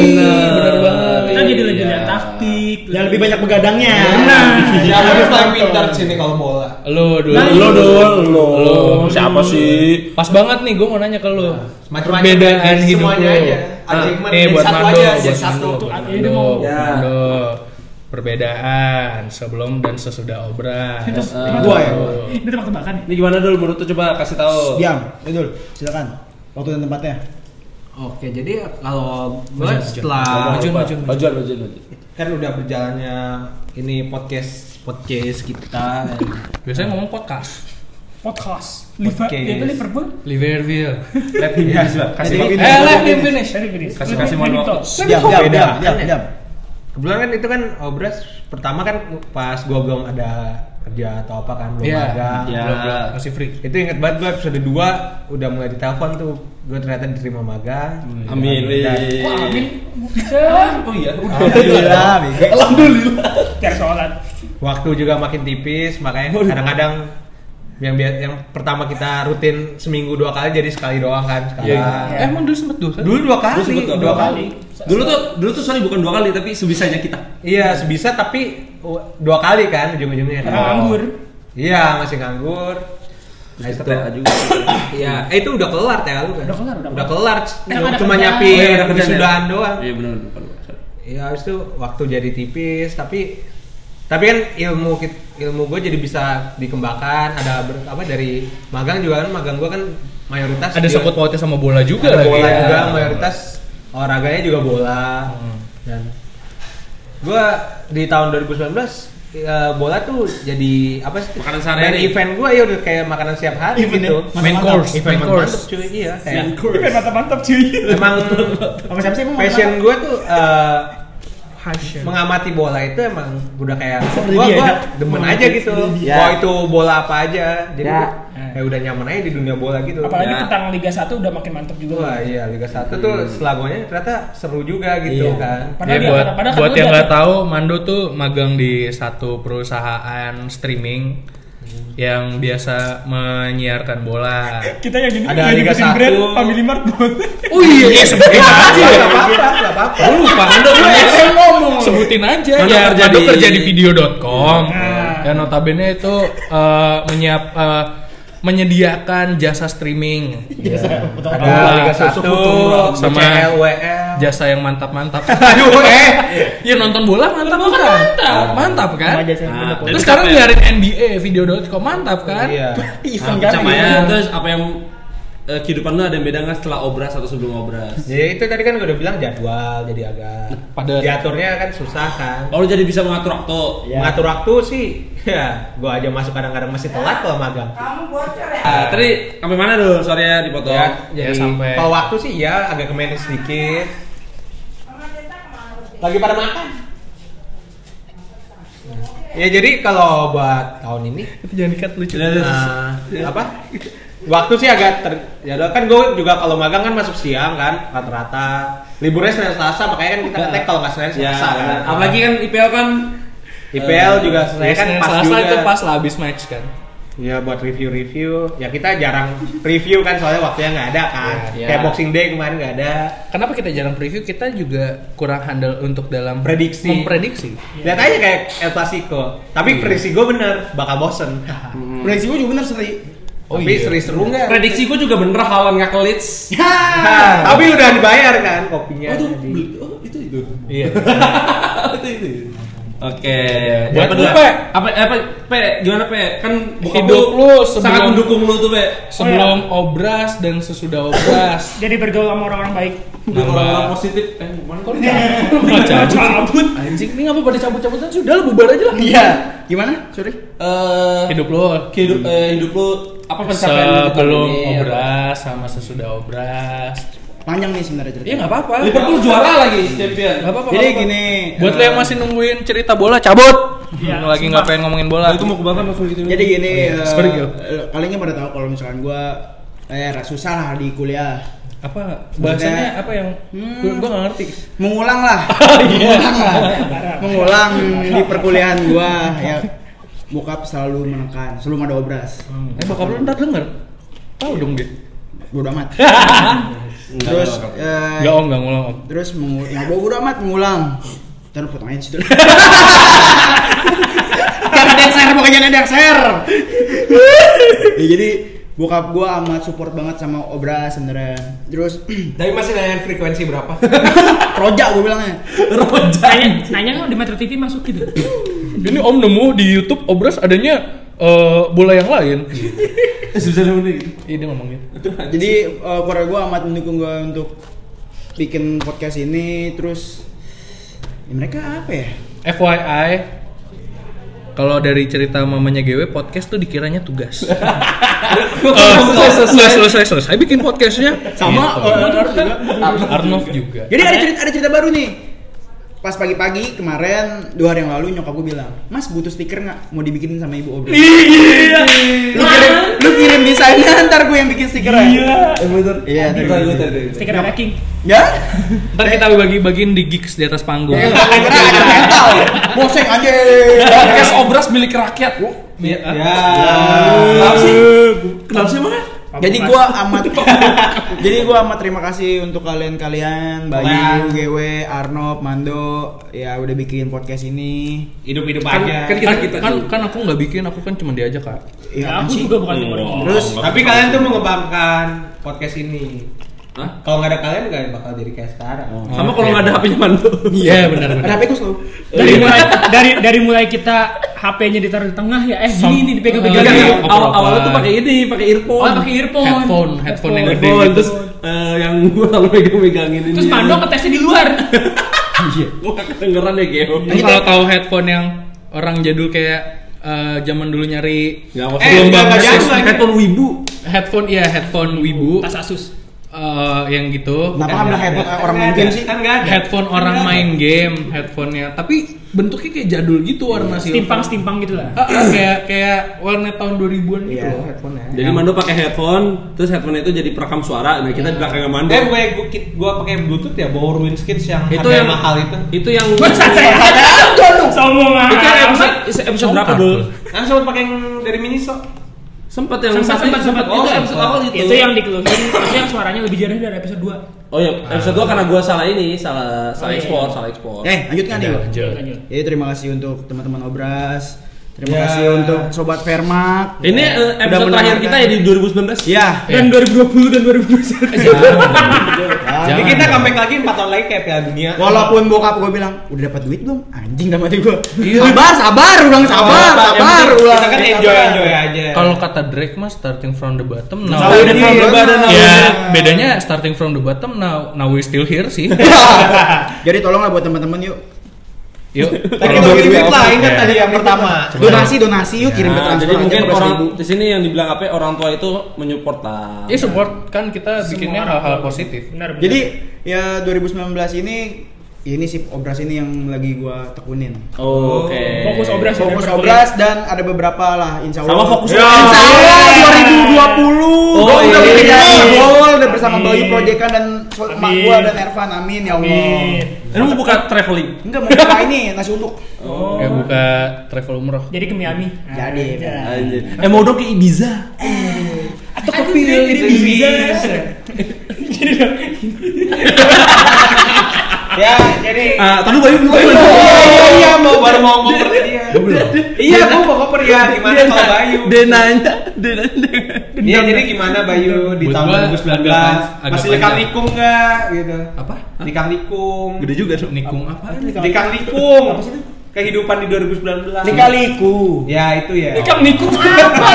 S5: Bener banget.
S4: Kita jadi lebih
S1: Iya.
S4: lihat taktik.
S3: Dan Ya, lebih banyak begadangnya. Nah.
S4: Benar.
S2: Ya, harus paling pintar di sini kalau bola.
S5: Lo dulu.
S4: Nah,
S1: lo dong lo
S5: Lo.
S1: siapa sih
S5: Pas banget nih gue mau nanya ke lu.
S2: Nah, Macam-macam.
S5: Perbedaan
S2: Semuanya
S5: hidup lu.
S2: aja. Achievement
S5: eh
S2: jadi
S5: buat
S2: satu
S5: Mando,
S2: aja,
S5: buat
S2: jadi
S5: Mando,
S2: satu. Iya.
S5: buat
S4: Ah,
S5: Mando,
S4: ini mau.
S5: buat
S1: Ya.
S5: Mando. Perbedaan sebelum dan sesudah obras.
S1: Eh,
S3: Gua ya.
S4: Ini tebak-tebakan.
S1: ini gimana dulu menurut tuh coba kasih tahu
S3: Diam, Idul. Silakan. Waktu dan tempatnya.
S2: Oke, jadi kalau gue
S5: Maju, maju.
S1: Ah,
S2: setelah
S5: Maju, maju, maju.
S1: bajuan bajuan bajuan
S2: kan udah berjalannya ini podcast podcast kita
S5: Biasanya ngomong podcast.
S4: Podcast. Liver,
S2: Podcast.
S4: itu Liverpool.
S5: Liverpool.
S1: let
S5: Iya,
S1: him finish Pak. kasih
S2: Jadi-
S1: Pak.
S5: Eh, let me finish.
S4: Seri finish.
S1: Kasih- kasih mohon
S4: Liverpool.
S1: waktu.
S3: Diam, diam, diam, diam, diam.
S2: kebetulan kan itu kan obras pertama kan pas gue belum ada kerja atau apa kan belum
S5: Iya.
S2: ada
S1: Iya.
S5: Belum,
S2: Ah.
S5: belum. Masih free.
S2: itu inget banget gue episode 2 udah mulai ditelepon tuh gue ternyata diterima magang
S1: amin
S2: Dan-
S4: Wah,
S1: Iya.
S4: amin.
S1: oh iya
S3: Alhamdulillah, bego.
S4: Cari sholat.
S2: waktu juga makin tipis makanya kadang-kadang yang bia- yang pertama kita rutin seminggu dua kali jadi sekali doang kan
S1: Iya.
S2: sekarang
S5: Eh, emang dulu sempet dulu kan?
S2: dulu dua kali
S1: Dulu sempet dua
S2: dua
S1: kali.
S2: kali.
S1: dulu tuh dulu tuh sorry bukan dua kali tapi sebisanya kita
S2: Iya, sebisa tapi u- dua kali kan ujung-ujungnya kan.
S4: Karena nganggur.
S2: Iya, masih nganggur. Nah, itu.
S1: kita juga
S2: Iya, eh, itu udah kelar ya lu kan.
S4: Udah kelar, udah
S2: Udah kelar.
S4: Eh, ada
S2: Cuma
S4: kerjaan.
S2: nyapi
S1: Iya, ada kerjaan ya?
S2: sudahan doang.
S1: iya benar lupa lupa sorry.
S2: Iya, habis itu waktu jadi tipis, tapi tapi kan ilmu kit- ilmu gue jadi bisa dikembangkan ada ber- apa dari magang juga kan magang gue kan mayoritas
S5: Ada
S2: dia-
S5: sangkut pautnya sama bola juga
S2: ada
S5: lagi.
S2: bola
S5: ya.
S2: juga mayoritas olahraganya juga bola
S5: Hmm.
S2: dan gue di tahun 2019 ya, bola tuh jadi apa sih
S1: Makanan sehari-hari.
S2: main event gue ya udah kayak makanan siap hari
S3: Event
S2: gitu
S3: ya?
S5: Main
S3: Mantap,
S5: course, main
S2: Mantap,
S5: course.
S2: cuy iya kayak
S4: Kan mantap-mantap cuy.
S2: emang
S3: Sama siapa sih emang?
S2: passion gue tuh eh,
S4: Hasil.
S2: mengamati bola itu emang udah kayak
S3: Seperti
S2: gue
S3: dia,
S2: gue
S3: ya?
S2: demen
S3: Mengamati
S2: aja gitu
S3: seperti
S1: dia.
S2: mau itu bola apa aja jadi
S1: Ya.
S2: gua kayak udah nyaman aja di dunia bola gitu
S4: Apalagi
S1: Ya.
S4: tentang Liga 1 udah makin mantap juga.
S2: Wah iya Liga 1 tuh selagonya ternyata seru juga gitu
S1: Iya.
S2: kan.
S5: Ya,
S4: Padahal dia-
S5: buat
S4: padahal
S5: buat
S4: kan
S5: yang
S4: lu
S5: nggak
S4: udah-
S5: tahu, Mando tuh magang di satu perusahaan streaming yang biasa menyiarkan bola.
S4: Kita yang ini
S2: Ada
S4: yang
S2: Liga
S4: nyebutin
S2: 1.
S4: brand Family Mart boleh.
S5: Oh iya, sebutin aja.
S2: Gak apa-apa, gak apa-apa.
S5: Gue lupa Mando ngomong. Sebutin aja.
S1: Mando
S5: ya,
S1: kerja
S5: Mando
S1: di-
S5: kerja di video.com.
S4: Nah.
S5: Ya notabene itu eh, menyiap eh, menyediakan jasa streaming
S4: Biasa potong
S2: Ada
S5: Ada
S2: Liga
S5: Liga Satu,
S2: 1
S5: sama-
S2: WL.
S5: jasa yang mantap-mantap
S2: Aduh, eh.
S5: ya nonton bola mantap bukan mantap mantap kan
S4: sama aja
S1: Nah,
S4: saya
S3: Ah,
S4: punya
S1: Jadi
S5: terus sekarang
S1: capek.
S5: biarin NBA video.com mantap kan
S2: Iya.
S4: event
S3: ya.
S1: Nah,
S4: kan
S1: pencapaian,
S4: event.
S1: terus apa yang eh, kehidupan lu ada yang beda nggak setelah obras atau sebelum obras?
S2: Jadi itu tadi kan gue udah bilang jadwal jadi agak
S5: Padat.
S2: diaturnya kan susah kan.
S1: Oh lu jadi bisa mengatur waktu.
S4: Ya.
S2: Mengatur waktu sih, ya gue aja masuk kadang-kadang masih telat kalau magang.
S1: Ah, Tadi sampai mana dulu? Sorry ya dipotong.
S2: Ya, jadi
S5: Ya, sampai-
S2: kalau waktu sih ya agak ke manage sedikit. Lagi pada makan. Ya jadi kalau buat tahun ini
S5: itu jangan dikat lucu
S1: Udah, udah, udah.
S2: eh, apa? Waktu sih agak ter ya doang. kan gue juga kalau magang kan masuk siang kan rata-rata liburnya Senin Selasa makanya kan kita ngetek kalau nggak Senin
S5: Iya,
S1: Ya,
S2: Selasa kan.
S1: benar. apalagi kan IPL kan
S2: IPL juga
S1: ya
S2: saya
S5: saya
S2: kan pas
S5: eh, Iya Selasa
S2: juga.
S5: itu pas lah habis match kan
S2: Ya buat review-review. Ya kita jarang review kan soalnya waktunya nggak ada kan.
S5: Iya.
S2: Kayak Boxing Day kemarin nggak ada.
S5: kenapa kita jarang preview kita juga kurang handal untuk dalam
S2: Prediksi.
S5: memprediksi
S2: Lihat aja kayak El Clasico. Tapi prediksi gue bener bakal bosen.
S4: Hmm.
S3: Prediksi gue juga bener seri.
S5: Oh
S2: Tapi
S5: iya.
S2: seru-seru nggak?
S1: prediksi gua juga bener halan nggak ke Leeds.
S3: Iya,
S2: Nah, tapi udah dibayar kan kopinya.
S1: Oh, itu,
S2: tadi.
S1: oh, itu itu.
S5: iya
S1: itu itu. Oke.
S5: Buat
S1: Apa
S5: lu,
S1: dulu?
S5: Pe.
S1: Apa apa Pe, gimana Pe? Kan bokap
S5: Hidup lu
S1: sangat
S5: sebelum-
S1: mendukung lu tuh Pe.
S5: sebelum obras dan sesudah obras
S4: jadi bergaul sama orang-orang baik
S1: Hidup
S5: Nambah-
S1: orang positif. Eh, mana kok lu
S4: Jangan cabut
S5: anjing ini ngapa pada cabut-cabutan sudah lah bubar aja lah
S3: Iya. Gimana? Sorry.
S1: Eh,
S5: hidup lo
S1: hidup eh, hidup lu apa pencapaian lu gitu, di tahun
S5: sebelum
S1: ini?
S5: obras sama sesudah obras
S3: Panjang nih sebenarnya cerita.
S5: iya nggak apa-apa
S1: Liverpool juara lagi champion.
S5: Nggak apa-apa
S3: Jadi
S5: nggak apa-apa.
S3: gini.
S5: buat lo yang masih nungguin cerita bola cabut
S4: Iya,
S5: Yang lagi
S4: sumpah.
S5: nggak pengen ngomongin bola
S1: Nah, Itu mau kebakar langsung gitu.
S3: Jadi gini,
S5: Oh, iya.
S3: eh,
S5: Sorry, Gil.
S3: eh, kalian kan pada tahu kalau misalkan gua eh susah lah di kuliah.
S5: apa bahasanya
S3: Maksudnya-
S5: apa yang
S3: Hmm.
S5: gue gue nggak ngerti
S3: Mengulang lah.
S5: Ah, iya.
S3: Mengulang lah. Mengulang di perkuliahan gua ya bokap selalu menekan, selalu ada obras.
S5: eh bokap lo ntar denger tahu dong dia
S3: Bodoh amat. Terus eh,
S5: nggak om nggak ngulang om
S3: terus mengulang, ya, bodoh amat mengulang. Terus potong aja di situ. Karena dasar pokoknya dasar. ya, jadi bokap gua amat support banget sama obras sebenarnya. Terus
S2: Tapi masih nanyain frekuensi berapa?
S3: rojak gua bilangnya.
S4: nanya nanya kan di Metro TV masuk gitu
S5: ini om nemu di YouTube obras adanya eh, bola yang lain
S1: susah banget gitu.
S5: iya dia ngomongin
S3: Jadi uh, keluarga gue amat mendukung gue untuk bikin podcast ini terus ya mereka apa ya?
S5: FYI kalau dari cerita mamanya GW podcast tuh dikiranya tugas. Eh, nggak selesai selesai bikin podcastnya
S3: Sama
S5: Gitu.
S3: uh, Arnold juga.
S5: Arnov juga.
S3: Jadi ada cerita ada cerita baru nih. Pas pagi-pagi kemarin dua hari yang lalu nyokap gue bilang, Mas butuh stiker nggak? Mau dibikinin sama ibu Obri.
S1: Iya.
S3: Lu kirim, lu kirim di sana, ntar gue yang bikin stikernya. Iya, bener. Iya, ntar gue
S1: gitu.
S3: yang bikin.
S1: Kan-
S4: stiker backing
S1: Iya,
S3: Ya?
S5: Ntar kita bagi-bagiin di gigs di atas panggung.
S3: Ya, gua kira ada metal. Boseng aja.
S1: Podcast obras milik rakyat.
S2: ya.
S1: Kenapa sih? Kenapa sih emang?
S3: Jadi gua amat Jadi gua amat terima kasih untuk kalian-kalian Bayu, GW, Arnob, Mando ya udah bikin podcast ini.
S2: Hidup-hidup
S1: Kan-
S2: aja.
S1: kan kita-
S5: Kan, kan, kan aku nggak bikin, aku kan cuma diajak kak.
S2: Iya,
S4: ya,
S3: Ya, apaan
S4: aku
S3: sih?
S4: juga bukan
S1: Iya.
S4: orang
S3: Terus
S2: Tapi kalian tuh mengembangkan podcast ini.
S1: Hah?
S2: Kalau nggak ada kalian nggak bakal jadi kayak sekarang.
S1: Sama kalau nggak ada HP-nya Mando.
S5: Iya benar
S3: kenapa itu selalu?
S4: dari
S5: Iya.
S4: mulai dari dari mulai kita HP-nya ditaruh di tengah ya eh gini nih dipegang-pegang
S5: Iya,
S1: Jadi
S5: iya.
S4: oh,
S1: awal awalnya tuh pakai ini, pakai earphone.
S4: pakai earphone
S5: Headphone, headphone yang gede
S1: Earphone,
S5: gitu.
S1: terus eh, yang gua selalu megang-megangin ini.
S4: terus Pando ketesnya di luar
S5: Iya.
S1: Gua nggak kedengeran deh Geo.
S5: Lu Kalau tahu headphone yang orang jadul kayak eh, zaman dulu nyari
S1: Nggak, Eh, nggak
S5: belum
S2: nggak, nggak
S5: bangun
S2: jadul
S5: sis-
S2: lagi.
S1: Headphone wibu.
S5: headphone iya headphone wibu
S4: tas Asus
S5: eh, yang gitu.
S2: Nah,
S3: Kenapa
S5: Dan-
S3: ambil headphone orang main game sih?
S2: Kan nggak ada.
S5: headphone orang main game, headphonenya. Tapi bentuknya kayak jadul gitu
S4: Iya.
S5: warna silver.
S4: timpang-timpang gitu lah
S5: Ah, ah, kayak kayak warna tahun 2000-an gitu
S3: Iya.
S5: loh.
S2: Headphone-nya.
S1: Jadi Mando pakai headphone, terus headphone itu jadi perekam suara. Nah, kita di belakangnya Mando.
S2: Eh gue gue gue pakai Bluetooth ya bawa Winskins yang
S1: Itu
S2: harga
S1: yang-
S2: mahal itu.
S1: Itu yang
S4: sombong
S1: Itu yang
S4: amat
S1: episode, Ah, episode berapa dulu?
S2: Kan sempat pakai yang dari Miniso.
S1: Sempet yang
S4: Sempat, sempat, sempat.
S1: Oh,
S4: Itu
S1: episode awal itu.
S4: itu yang dikeluhin itu yang suaranya lebih jernih dari episode 2
S1: Oh iya, episode 2 karena gua salah ini, salah salah
S4: Oh, iya.
S1: ekspor, salah ekspor.
S3: Eh, lanjut nggak nih gua?
S5: Lanjut.
S4: lanjut
S3: Ya terima kasih untuk teman-teman Obras Terima
S2: Ya.
S3: kasih untuk sobat Fermat.
S1: Ini eh,
S3: Udah kan?
S1: episode terakhir kita ya di 2019.
S3: Ya.
S4: Dan 2020 dan 2021.
S3: Iya.
S2: Jadi kita comeback lagi 4 tahun lagi kayak Piala Dunia.
S3: Walaupun bokap gue bilang udah dapat duit belum? Anjing dalam hati gue. Sabar, sabar, ulang sabar,
S2: Iya. Oh, Yang penting
S3: sabar, ulang.
S2: Kita kan enjoy enjoy aja.
S5: Kalau kata Drake mah starting from the bottom nah, now.
S3: Now we from the bottom.
S1: Iya.
S2: Iya,
S5: Ya, bedanya starting from the bottom now now we still here sih.
S3: Iya. Jadi tolonglah buat teman-teman yuk
S5: Yuk.
S2: Tadi
S5: kalau-
S2: bagi duit lah, ingat
S5: Iya.
S2: tadi yang pertama. Iya.
S3: donasi donasi yuk kirim ke
S1: Nah,
S3: transfer
S1: jadi
S3: aja
S1: mungkin
S3: 15.000.
S1: orang di sini yang dibilang apa orang tua itu menyupport lah.
S5: Ya support kan kita bikinnya
S4: Semua.
S5: hal-hal positif.
S4: Benar. benar.
S3: Jadi ya 2019 ini ini sih obras ini yang lagi gua tekunin.
S1: Oh, Oke.
S4: Fokus obras.
S3: Fokus
S4: Perkuliahan.
S3: obras dan ada beberapa lah insya Allah.
S1: Sama fokus
S3: Ya.
S1: obras.
S3: Insya Allah 2020.
S1: Oh,
S3: gua udah
S1: iya.
S3: bikin jebol udah bersama
S4: Amin.
S3: Bayu Projekan dan so- mak
S4: Amin.
S3: gua dan Ervan. Amin ya Allah.
S4: Amin.
S1: Ini mau buka traveling.
S3: Enggak mau buka ini nasi uduk.
S4: Oh.
S5: Kayak buka travel umroh.
S1: Ya.
S4: Jadi ke Miami.
S3: Jadi.
S4: Anjay.
S1: Anjir. Eh mau dong ke Ibiza.
S4: Atau ke
S2: gitu.
S4: Filipina. Jadi dong.
S2: Ya, jadi
S1: Ah, tadi Bayu dulu. Bayu.
S2: Oh iya mau baru mau ngoper tadi ya. Iya, gua mau ngoper ya gimana
S1: Dia-
S2: kalau Bayu?
S1: Dia nanya, dia nanya.
S2: Iya, jadi gimana Bayu di
S5: Buat
S2: tahun
S5: gua
S2: 2019?
S5: agak- agak
S2: Masih dikang
S5: panjang.
S2: nikung enggak gitu?
S5: Apa?
S2: Dikang nikung.
S1: Gede juga dong.
S5: Nikung apa?
S2: Dikang nikung. Apa sih itu? Kehidupan di 2019.
S3: Likaliku.
S2: Ya, itu ya.
S4: Nikam nikung apa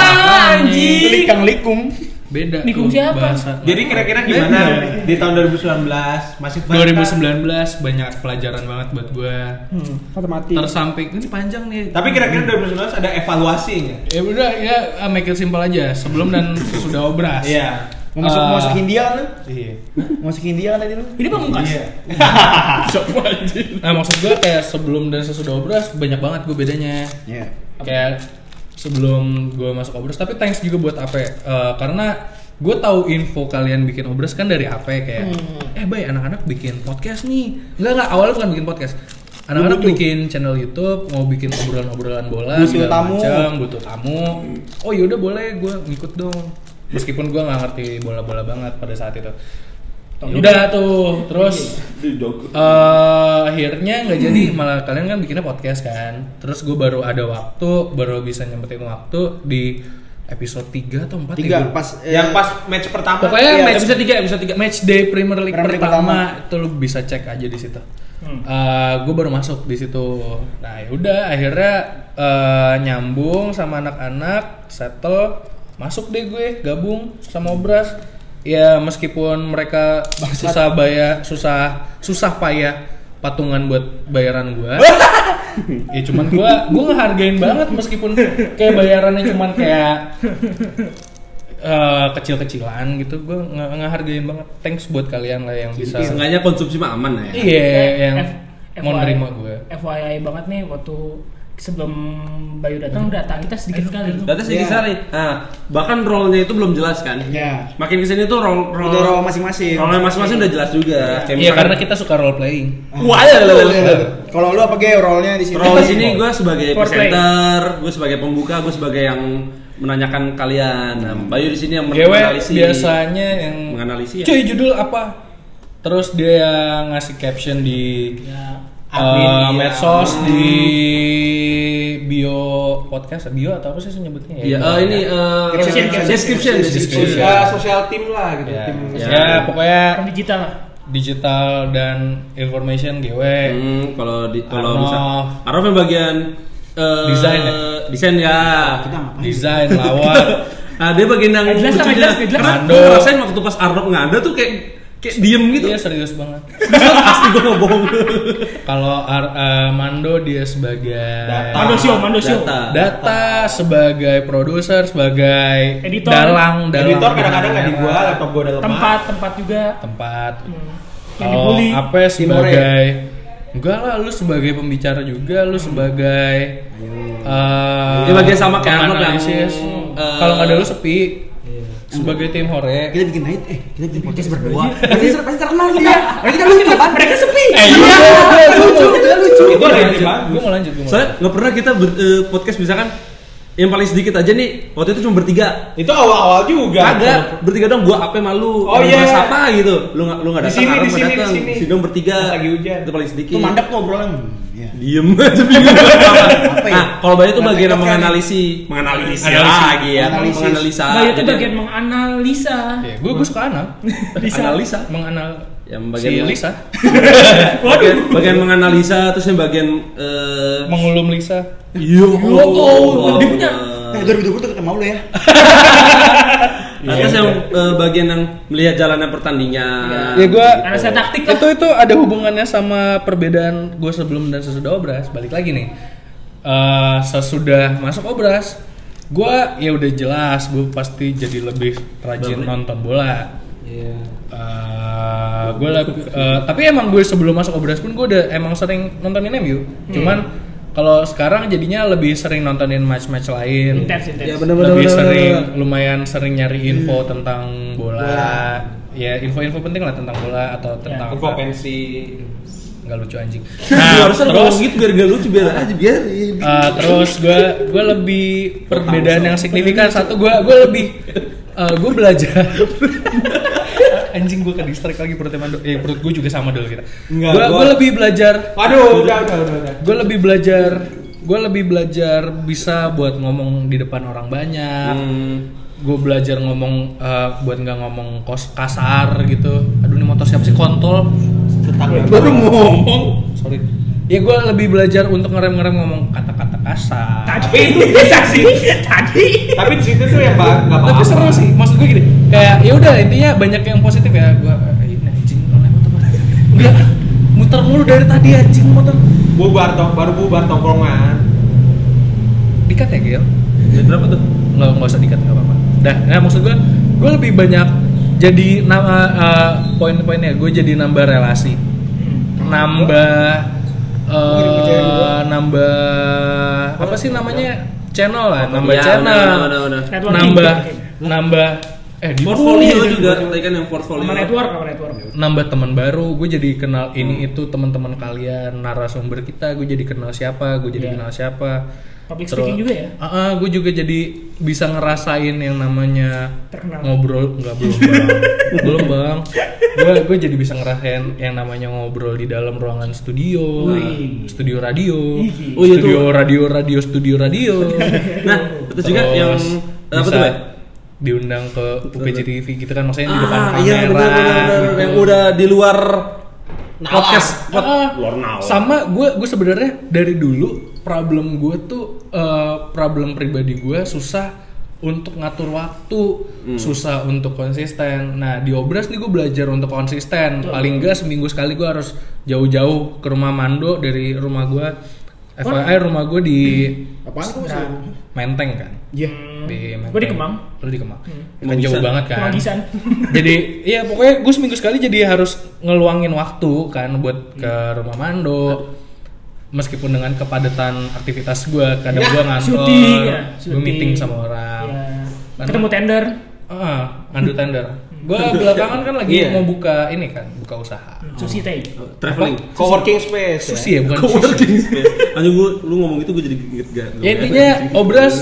S4: anjing?
S3: Likang likung.
S5: Beda.
S4: Nikung
S5: tuh
S4: siapa?
S5: bahasa.
S2: Jadi kira-kira gimana
S5: Iya.
S2: di tahun 2019? Masih fun
S5: 2019 banyak pelajaran banget buat gua.
S1: Iya.
S3: Hmm, kata mati.
S5: Tersamping ini panjang nih.
S2: Tapi kira-kira 2019 ada evaluasi nggak?
S5: ya udah ya uh, make it simple aja sebelum dan sesudah obras.
S2: Iya.
S3: Mau masuk
S5: Ah.
S3: mau masuk India kan lu?
S2: Iya.
S3: Mau Masuk India kan tadi lu?
S4: Ini pamungkas.
S5: Iya. Nah maksud gua kayak sebelum dan sesudah obras banyak banget gua bedanya.
S3: Iya.
S5: Kayak sebelum gua masuk obras tapi thanks juga buat AP Eh, karena gue tahu info kalian bikin obras kan dari AP kayak
S3: Hmm.
S5: eh bay anak-anak bikin podcast nih nggak nggak awalnya bukan bikin podcast anak-anak bikin channel YouTube mau bikin obrolan-obrolan bola
S3: Butuh
S5: segala
S3: tamu.
S5: macam butuh tamu oh yaudah boleh gue ngikut dong meskipun gua nggak ngerti bola-bola banget pada saat itu Ya udah tuh terus eh akhirnya nggak jadi malah kalian kan bikinnya podcast kan terus gue baru ada waktu baru bisa nyempetin waktu di episode 3 atau ya, 4
S3: Tiga pas eh,
S2: Yang pas match pertama. ya,
S5: pokoknya
S3: Iya,
S5: match
S1: Episode 3, episode 3.
S5: match day Premier League
S3: Premier League
S5: pertama, itu lu bisa cek aja di situ gue baru masuk di situ nah yaudah akhirnya eh, nyambung sama anak-anak settle masuk deh gue gabung sama obras ya meskipun mereka susah bayar susah susah payah patungan buat bayaran gue ya cuman gue gue ngehargain banget meskipun kayak bayarannya cuman kayak eh, kecil-kecilan gitu gue nge- ngehargain banget thanks buat kalian lah yang bisa
S1: Seenggaknya konsumsi mah aman lah ya.
S5: iya yang
S4: Eh, F-
S5: mau
S4: FYI
S5: nerima gue
S4: FYI banget nih waktu sebelum Bayu datang udah datang kita sedikit sekali.
S1: Data sedikit
S3: Iya.
S1: sekali. Nah, bahkan role-nya itu belum jelas kan?
S3: Iya.
S1: Makin kesini tuh role role
S3: Udah role masing-masing.
S1: Role masing-masing udah jelas juga. Kayak
S5: iya
S1: misalkan-
S5: karena kita suka role playing
S2: Hmm.
S3: Oh, iya,
S1: Wah,
S2: iya,
S1: ya, ya, ya, ya.
S3: Kalau lu apa ge role-nya di sini?
S1: Role sini gue sebagai
S4: Foreplay.
S1: presenter, gue sebagai pembuka, gue sebagai yang menanyakan kalian. Nah, Bayu di sini yang
S5: gue
S1: menganalisis.
S5: biasanya yang
S1: menganalisis. Ya.
S5: cuy judul apa terus dia yang ngasih caption di
S4: Ya.
S2: Admin,
S5: eh,
S2: iya.
S5: medsos di bio podcast bio atau apa sih nyebutnya ya?
S1: Iya, eh, ini eh,
S3: Description, Iya.
S1: description, description.
S5: Description.
S2: Sosial, sosial tim lah gitu.
S5: ya,
S2: Tim.
S1: Iya.
S5: ya, pokoknya
S4: Orang digital lah.
S5: digital dan information GW
S1: Hmm, kalau di kalau
S5: Arnof.
S1: bisa Arnof yang bagian eh,
S5: Desain ya?
S1: Desain ya.
S3: Kita ngapain?
S5: desain lawak
S1: Nah, dia bagian yang
S4: Nggak jelas lah,
S1: lucunya.
S4: nggak jelas, nggak jelas.
S1: Karena
S5: Ando.
S1: gue ngerasain waktu pas Arnof nggak ada tuh kayak kayak diem gitu.
S5: dia serius banget
S1: Pasti gue nggak bohong.
S5: kalau Ar- eh, Mando dia sebagai
S2: Data.
S4: Mandosio, Mandosio.
S1: Data.
S5: data sebagai produser sebagai
S4: Editor.
S5: dalang dalang
S2: Editor
S1: kan?
S2: kadang-kadang nggak di gua,
S5: dalang-
S2: laptop gua udah lemah.
S4: Tempat tempat juga.
S5: tempat
S4: Hmm. Yang
S5: kalau
S4: dibully.
S5: apa sebagai enggak lah lu sebagai pembicara juga lu sebagai eh,
S1: Hmm. Dia bagian sama kayak Arnold yang,
S5: analisis.
S1: eh, Iya.
S5: kalau nggak ada lu sepi sebagai tim hore
S3: Kita bikin night eh kita bikin podcast berdua. Pasti pasti terkenal kita. Mereka kita lucu kan? Mereka sepi.
S5: Eh, iya.
S3: lucu, kita lucu.
S2: Itu ada yang
S5: Lanjut,
S2: bagus.
S5: gua mau lanjut gua mau
S1: Soalnya nggak pernah kita ber- eh, podcast misalkan yang paling sedikit aja nih waktu itu cuma bertiga.
S2: Itu awal-awal juga.
S1: Kagak, bertiga dong gua apa malu.
S2: Oh, iya.
S1: Sapa gitu. Lu nggak lu nggak
S2: Di
S1: datang,
S2: sini,
S1: Arnof
S2: di
S1: nggak
S2: sini, di
S1: datang.
S2: sini.
S1: Sini dong bertiga.
S2: Pas lagi hujan.
S1: Itu paling sedikit.
S3: Itu mandek tuh obrolan. Hmm, Iya.
S1: Diem aja bingung.
S3: Apa ya?
S1: Nah, kalau Bayu itu bagian
S3: Laptop kan.
S1: menganalisi, menganalisi
S5: Analisis.
S1: lagi ya,
S3: Analisis.
S1: menganalisa. gitu.
S4: Bayu
S5: Iya,
S4: itu
S1: Jadi-
S4: bagian menganalisa.
S5: Ya, gue gue suka anal.
S4: Lisa.
S1: analisa.
S5: Menganal
S1: Yang Ya, bagian
S5: si Lisa,
S1: Bagian, bagian menganalisa terus yang bagian eh
S5: mengulum Lisa.
S1: Yo,
S4: oh, dia punya.
S3: Eh, 2020 tuh ketemu lu ya.
S1: Terus yang eh, bagian yang melihat jalannya pertandingan.
S5: Ya gue
S4: Analisa taktik lah.
S5: itu itu ada hubungannya sama perbedaan gue sebelum dan sesudah obras. Balik lagi nih, Eh, sesudah masuk obras, gue ya udah jelas gue pasti jadi lebih rajin nonton bola. Eh, gue lebih, eh, tapi emang gue sebelum masuk obras pun gue udah emang sering nontonin MU. Cuman kalau sekarang jadinya lebih sering nontonin match-match lain
S4: Intens, intens.
S1: Ya benar benar.
S5: lebih
S1: benar,
S5: sering
S1: benar.
S5: lumayan sering nyari info tentang bola. ya info-info penting lah tentang bola atau
S2: Ya,
S5: tentang
S2: Info pensi.
S5: nggak lucu anjing
S1: Lu
S5: nah
S1: harusnya
S5: terus
S1: ngomong gitu biar gak lucu biar aja biarin.
S5: eh, terus gue gue lebih perbedaan yang signifikan satu gue gue lebih gue belajar anjing gue ke distract lagi perutnya Mando. eh perut gue juga sama dulu kita
S2: Enggak,
S5: gue
S2: gua-
S5: gue lebih belajar
S2: Waduh, udah, udah, udah, udah.
S5: gue lebih belajar gue lebih belajar bisa buat ngomong di depan orang banyak
S1: Hmm.
S5: gue belajar ngomong eh, buat nggak ngomong kos kasar gitu aduh ini motor siapa sih kontol
S3: Baru ngomong.
S5: sorry ya gue lebih belajar untuk ngerem ngerem ngomong kata kata kasar
S4: Tadi
S5: Iya.
S4: itu bisa sih. Tadi.
S2: Tapi di situ tuh yang ba- nggak
S5: tapi
S2: apa-apa.
S5: seru sih maksud gue gini kayak ya udah intinya banyak yang positif ya gue ini anjing online motor udah muter mulu dari tadi anjing motor
S2: Bubar toh, baru bubar tongkrongan.
S5: dikat ya Gil
S1: Ya, berapa tuh?
S5: nggak nggak usah dikat nggak apa-apa dah nah maksud gue gue lebih banyak jadi nama eh, poin-poinnya gue jadi nambah relasi
S1: Hmm.
S5: nambah eh nambah apa sih namanya channel lah nambah
S1: Iya,
S5: channel
S1: benar, benar, benar.
S4: Networking.
S5: nambah nambah eh di
S1: Portfolio juga, tadi kan yang portfolio.
S4: Sama network, sama network.
S5: nambah teman baru gue jadi kenal
S1: Hmm.
S5: ini itu teman-teman kalian narasumber kita gue jadi kenal siapa gue jadi
S4: Iya.
S5: kenal siapa
S4: Public speaking juga ya?
S5: Ah, ah, gue juga jadi bisa ngerasain yang namanya
S4: Terkenal.
S5: ngobrol nggak belum bang belum bang gue gue jadi bisa ngerasain yang namanya ngobrol di dalam ruangan studio
S4: Wih.
S5: studio radio
S4: Ih.
S1: Oh, iya tuh.
S5: studio radio radio studio radio
S1: Nah, itu juga
S5: Terus
S1: yang eh, apa
S5: bisa
S1: tuh, Bay?
S5: diundang ke UPJ TV gitu kan maksudnya di depan
S1: Ah,
S5: kamera
S1: iya benar benar benar.
S5: gitu.
S1: yang udah di luar podcast
S5: Pod-
S1: luar nalar.
S5: sama gue gue sebenarnya dari dulu problem gue tuh eh, problem pribadi gue susah untuk ngatur waktu
S4: Hmm.
S5: susah untuk konsisten nah di obras nih gue belajar untuk konsisten paling enggak seminggu sekali gue harus jauh-jauh ke rumah mando dari rumah gue FYI rumah gue di
S3: Apaan tuh?
S5: Menteng kan
S3: Iya.
S4: Hmm,
S5: di Menteng.
S4: Gua di Kemang. Hmm.
S5: Lu di Kemang. Kan jauh
S1: Kemanggisan.
S5: banget kan.
S4: Kemanggisan.
S5: jadi iya pokoknya gue seminggu sekali jadi harus ngeluangin waktu kan buat ke rumah Mando. Meskipun dengan kepadatan aktivitas gue, kadang gue ngantor,
S4: syuting ya,
S5: gue
S4: syuting.
S5: meeting sama orang.
S4: Ya.
S5: Karena-
S4: Ketemu tender.
S5: Ah, ngandu tender.
S4: Hmm.
S5: Gue belakangan kan lagi
S1: Iya.
S5: mau buka ini kan, buka usaha.
S4: Susi teh.
S1: traveling.
S2: Coworking space. ya.
S5: Sushi ya bukan sushi.
S1: Coworking space. Anjing gua lu ngomong gitu gua jadi gigit gak.
S5: Ya intinya
S4: Iya.
S5: obras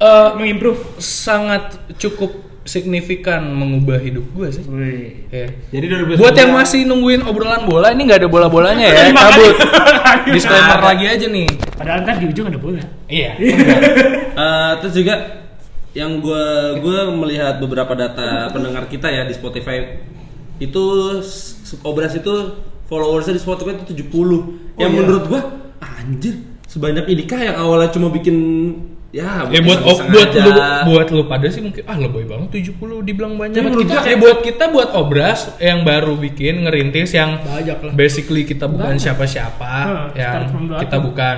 S5: eh,
S4: Mengimprove.
S5: sangat cukup signifikan mengubah hidup gue sih. Ya.
S2: Jadi 2019.
S5: Buat yang masih nungguin obrolan bola ini nggak ada bola-bolanya ya. Cabut. Disclaimer lagi aja nih.
S4: Padahal ntar di ujung ada bola.
S5: Iya.
S1: Eh, terus juga yang gua gua melihat beberapa data pendengar kita ya di Spotify itu s- Obras itu followersnya di Spotify itu 70. yang
S3: iya?
S1: menurut gua anjir sebanyak inikah yang awalnya cuma bikin ya
S5: Ya
S1: bikin
S5: buat ob,
S1: iseng-iseng
S5: buat
S1: aja.
S5: lu buat lu pada sih mungkin ah lebay banget 70 dibilang banyak.
S1: Tapi menurut
S5: Kita-
S1: gua-
S5: ya buat kita buat obras yang baru bikin ngerintis yang
S3: Banyak lah.
S5: basically kita bukan siapa-siapa
S4: Hah,
S5: yang
S4: start from the
S5: kita
S4: bottom.
S5: bukan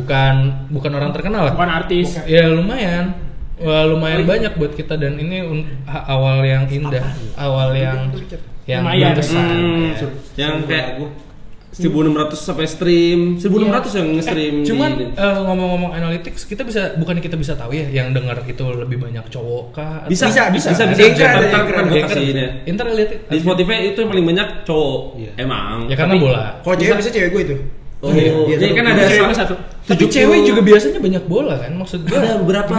S5: bukan bukan orang terkenal lah.
S4: Bukan artis.
S5: Ya lumayan. Wah, lumayan banyak buat kita dan ini un- ha- awal yang indah, awal yang yang
S4: Lumayan.
S5: berkesan.
S1: Hmm,
S5: Ya.
S1: yang kayak 1600 sampai
S3: Iya.
S1: stream 1600 yang nge-stream
S5: Eh,
S1: di-
S5: cuman eh, ngomong-ngomong analytics, kita bisa bukan kita bisa tahu ya yang dengar itu lebih banyak cowok kah? Atau- Iya,
S1: bisa
S3: Bisa, bisa.
S1: bisa bisa,
S3: Ada yang
S1: bisa.
S3: keren, ada
S1: Ntar-
S3: yang
S1: ntar
S3: keren.
S1: gua
S5: Kan,
S1: kasih ini ya.
S5: Inter analytics.
S1: di Spotify itu yang paling banyak cowok
S3: Iya.
S1: emang
S5: Ya karena
S1: Tapi-
S5: bola.
S3: Kalau cewek bisa cewek gue itu.
S1: Oh, iya. Jadi kan ada
S4: Cewek
S1: sa-
S4: satu.
S5: Tapi
S1: 70.
S5: cewek juga biasanya banyak bola kan maksud gua.
S1: ada berapa?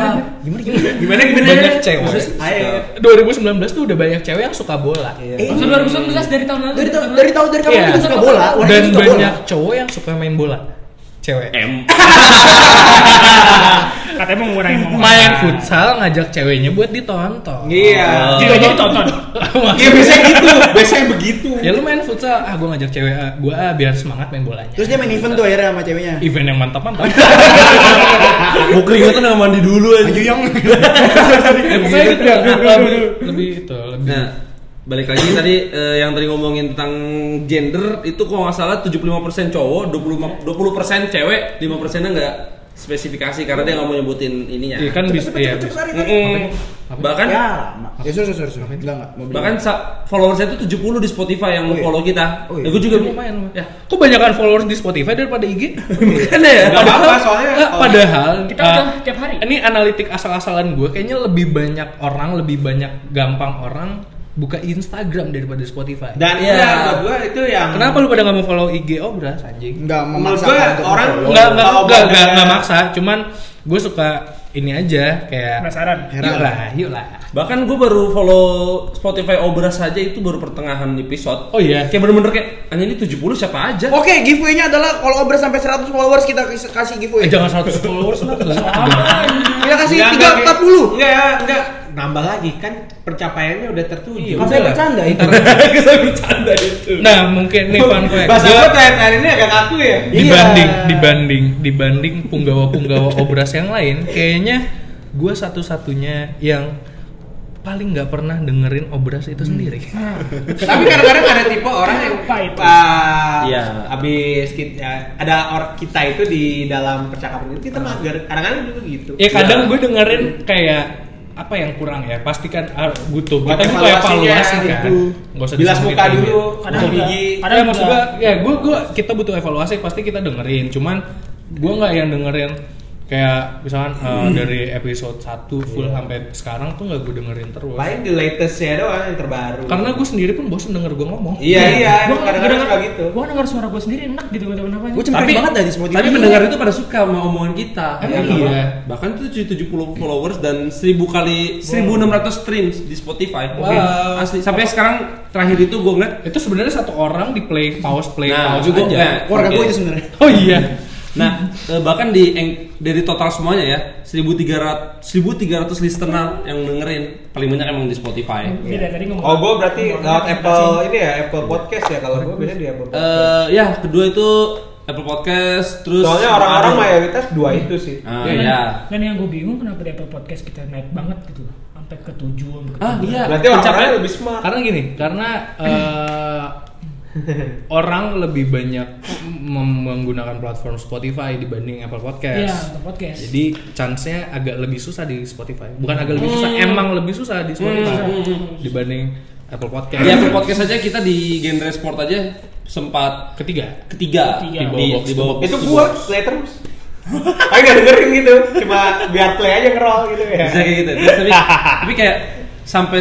S3: Gimana gimana?
S5: Gimana gimana banyak cewek?
S3: Ayo.
S5: 2019 tuh udah banyak cewek yang suka bola.
S2: Iya.
S3: Eh,
S4: Maksud 2019 dari tahun lalu.
S3: dari tahun dari tahun dari kamu
S5: Iya.
S3: juga suka bola, wanita
S5: Dan
S3: suka bola.
S1: Eh.
S5: banyak cowok yang suka main bola. Cewek.
S1: M
S4: katanya mau ngurangin omongan.
S5: main futsal ngajak ceweknya buat ditonton
S3: Iya.
S1: Ah.
S4: Juga jadi tonton.
S5: Maksud-
S2: Ya,
S3: Iya biasanya gitu, biasanya begitu.
S5: ya lu main futsal ah gue ngajak cewek ah, gue ah, biar semangat main bolanya
S3: Terus dia main event tuh akhirnya sama ceweknya.
S2: Iya.
S5: event yang mantap mantap
S1: Mau keringetan sama mandi dulu aja.
S3: Yong.
S5: lebih, lebih itu lebih
S1: Nah, balik lagi tadi eh, yang tadi ngomongin tentang gender itu kalau nggak salah 75% cowok, 25 20% cewek, 5%-nya nggak spesifikasi karena dia nggak mau nyebutin ininya.
S5: Iya kan bisa ya bisa.
S1: Mm-mm. Bahkan
S3: Ya, lama.
S2: Iya,
S3: Ya suruh suruh suruh. Enggak enggak. Mau bilang.
S1: bahkan sa- followersnya itu 70 di Spotify yang follow kita.
S3: Oh
S1: Ya,
S3: iya.
S1: gue juga
S5: lumayan ya kok banyakan followers di Spotify daripada IG
S1: Kan ya.
S5: Padahal-
S2: apa-apa, soalnya
S5: eh,
S2: kalau-
S5: padahal
S4: Kita
S5: eh,
S4: udah tiap hari.
S5: ini analitik asal-asalan gue kayaknya lebih banyak orang lebih banyak gampang orang buka Instagram daripada Spotify
S2: Dan
S1: Iya.
S2: ya, buat gua itu yang
S5: kenapa lu pada nggak mau follow IG oh beras anjing
S3: Enggak memaksa
S2: Menurut gua
S3: untuk
S2: orang
S3: follow.
S5: nggak nggak
S2: kalau
S5: nggak nggak
S2: bandnya-
S5: nggak maksa cuman gue suka ini aja kayak
S4: Penasaran.
S3: Heran.
S5: yuk lah yuk lah
S1: Bahkan gue baru follow Spotify Obras saja itu baru pertengahan episode.
S5: oh iya
S1: Kayak bener-bener kayak anjing ini 70 siapa aja?
S3: Oke, giveaway-nya adalah kalau over sampai 100 followers kita kas- kasih
S5: Eh,
S3: giveaway.
S5: jangan 100 followers lah
S3: Kita kasih
S2: Enggak, enggak, kayak-
S3: 340.
S2: Enggak, ya, enggak. Nambah lagi kan pencapaiannya udah tertuju.
S5: Iya, udah.
S3: bercanda itu.
S1: bercanda itu.
S5: nah mungkin nih fun fact
S2: Bahasa
S5: Gua-
S2: gua terakhir ini agak kaku ya.
S5: dibanding
S3: Iya.
S5: dibanding dibanding punggawa-punggawa obras yang lain kayaknya gue satu-satunya yang paling nggak pernah dengerin obras itu
S2: Hmm.
S5: sendiri
S2: Tapi kadang-kadang ada tipe orang yang
S4: Apa itu?
S2: ah,
S1: Iya.
S2: Abis kita ada orang kita itu di dalam percakapan itu kita mager. Kadang-kadang juga gitu.
S5: ya kadang gue dengerin kayak apa yang kurang ya pastikan ah, butuh
S2: Buat
S5: kita butuh
S2: evaluasinya,
S5: evaluasi kan
S2: gitu.
S5: Nggak usah
S2: Bilas
S5: disebutin
S2: muka
S5: aja.
S2: dulu,
S4: Kadang
S2: kadang
S4: juga-
S2: gigi.
S4: kadang
S5: ya maksud
S4: juga-
S5: gua ya gua gua kita butuh evaluasi pasti kita dengerin cuman gua nggak yang dengerin kayak misalkan eh,
S2: Hmm.
S5: dari episode 1 full sampai sekarang tuh nggak gue dengerin terus
S2: Paling the latest-nya doang yang terbaru.
S5: karena gue sendiri pun bosen denger gue ngomong
S2: Iya, iya. emang
S4: Gua-
S2: Kadang-kadang
S4: gua
S2: suka
S4: denger-
S2: gitu.
S4: Gua denger suara gua sendiri enak gitu gua kenapa
S3: Gue cempreng banget dari Spotify.
S1: Tapi pendengar itu pada suka sama omongan kita.
S5: Emang
S1: nggak
S5: iya.
S1: apa-apa. Bahkan itu 70 followers dan 1000 kali 1600 streams di Spotify.
S5: Wow.
S1: Oke. Asli sampai sekarang terakhir itu gue ngeliat
S5: itu sebenarnya satu orang di play pause play
S1: Nah,
S5: pause
S1: juga
S5: aja
S1: nah,
S3: keluarga gue
S1: oke.
S3: itu sebenarnya.
S5: oh iya
S1: Nah, eh, bahkan di eng- dari total semuanya ya 1300 1300 listener yang dengerin paling banyak emang di Spotify.
S4: Eh, Beda tadi ngomong.
S2: Oh, gue berarti
S4: ngomong
S2: lewat
S4: aplikasi.
S2: Apple ini ya, Apple Podcast ya kalau gue biasanya di Apple Podcast.
S1: Eh ya, kedua itu Apple Podcast terus
S2: Soalnya orang-orang ya. mayoritas dua itu sih.
S1: Ah,
S5: Ya,
S1: iya.
S4: Dan, dan yang gue bingung kenapa di Apple Podcast kita naik banget gitu loh. Sampai ke 7 sampai ke
S1: Ah, iya.
S2: Berarti orang-orang
S1: Pencapaian-
S2: lebih smart.
S5: karena gini karena eh, orang lebih banyak mem- menggunakan platform Spotify dibanding Apple
S4: Iya,
S5: Podcast
S4: Apple Podcast.
S5: jadi chance-nya agak lebih susah di Spotify bukan agak lebih susah emang lebih susah di Spotify dibanding Apple Podcast
S2: Iya,
S1: Di Apple Podcast aja kita di genre sport aja sempat
S5: ketiga
S1: ketiga,
S4: Ketiga.
S1: di bawah di
S5: Di box to
S1: bawah box
S2: Itu
S1: to
S2: gue
S1: box.
S2: play terus. Aku gak dengerin gitu, cuma biar play aja ngerol gitu ya.
S1: bisa kayak gitu Terus tapi, tapi kayak sampai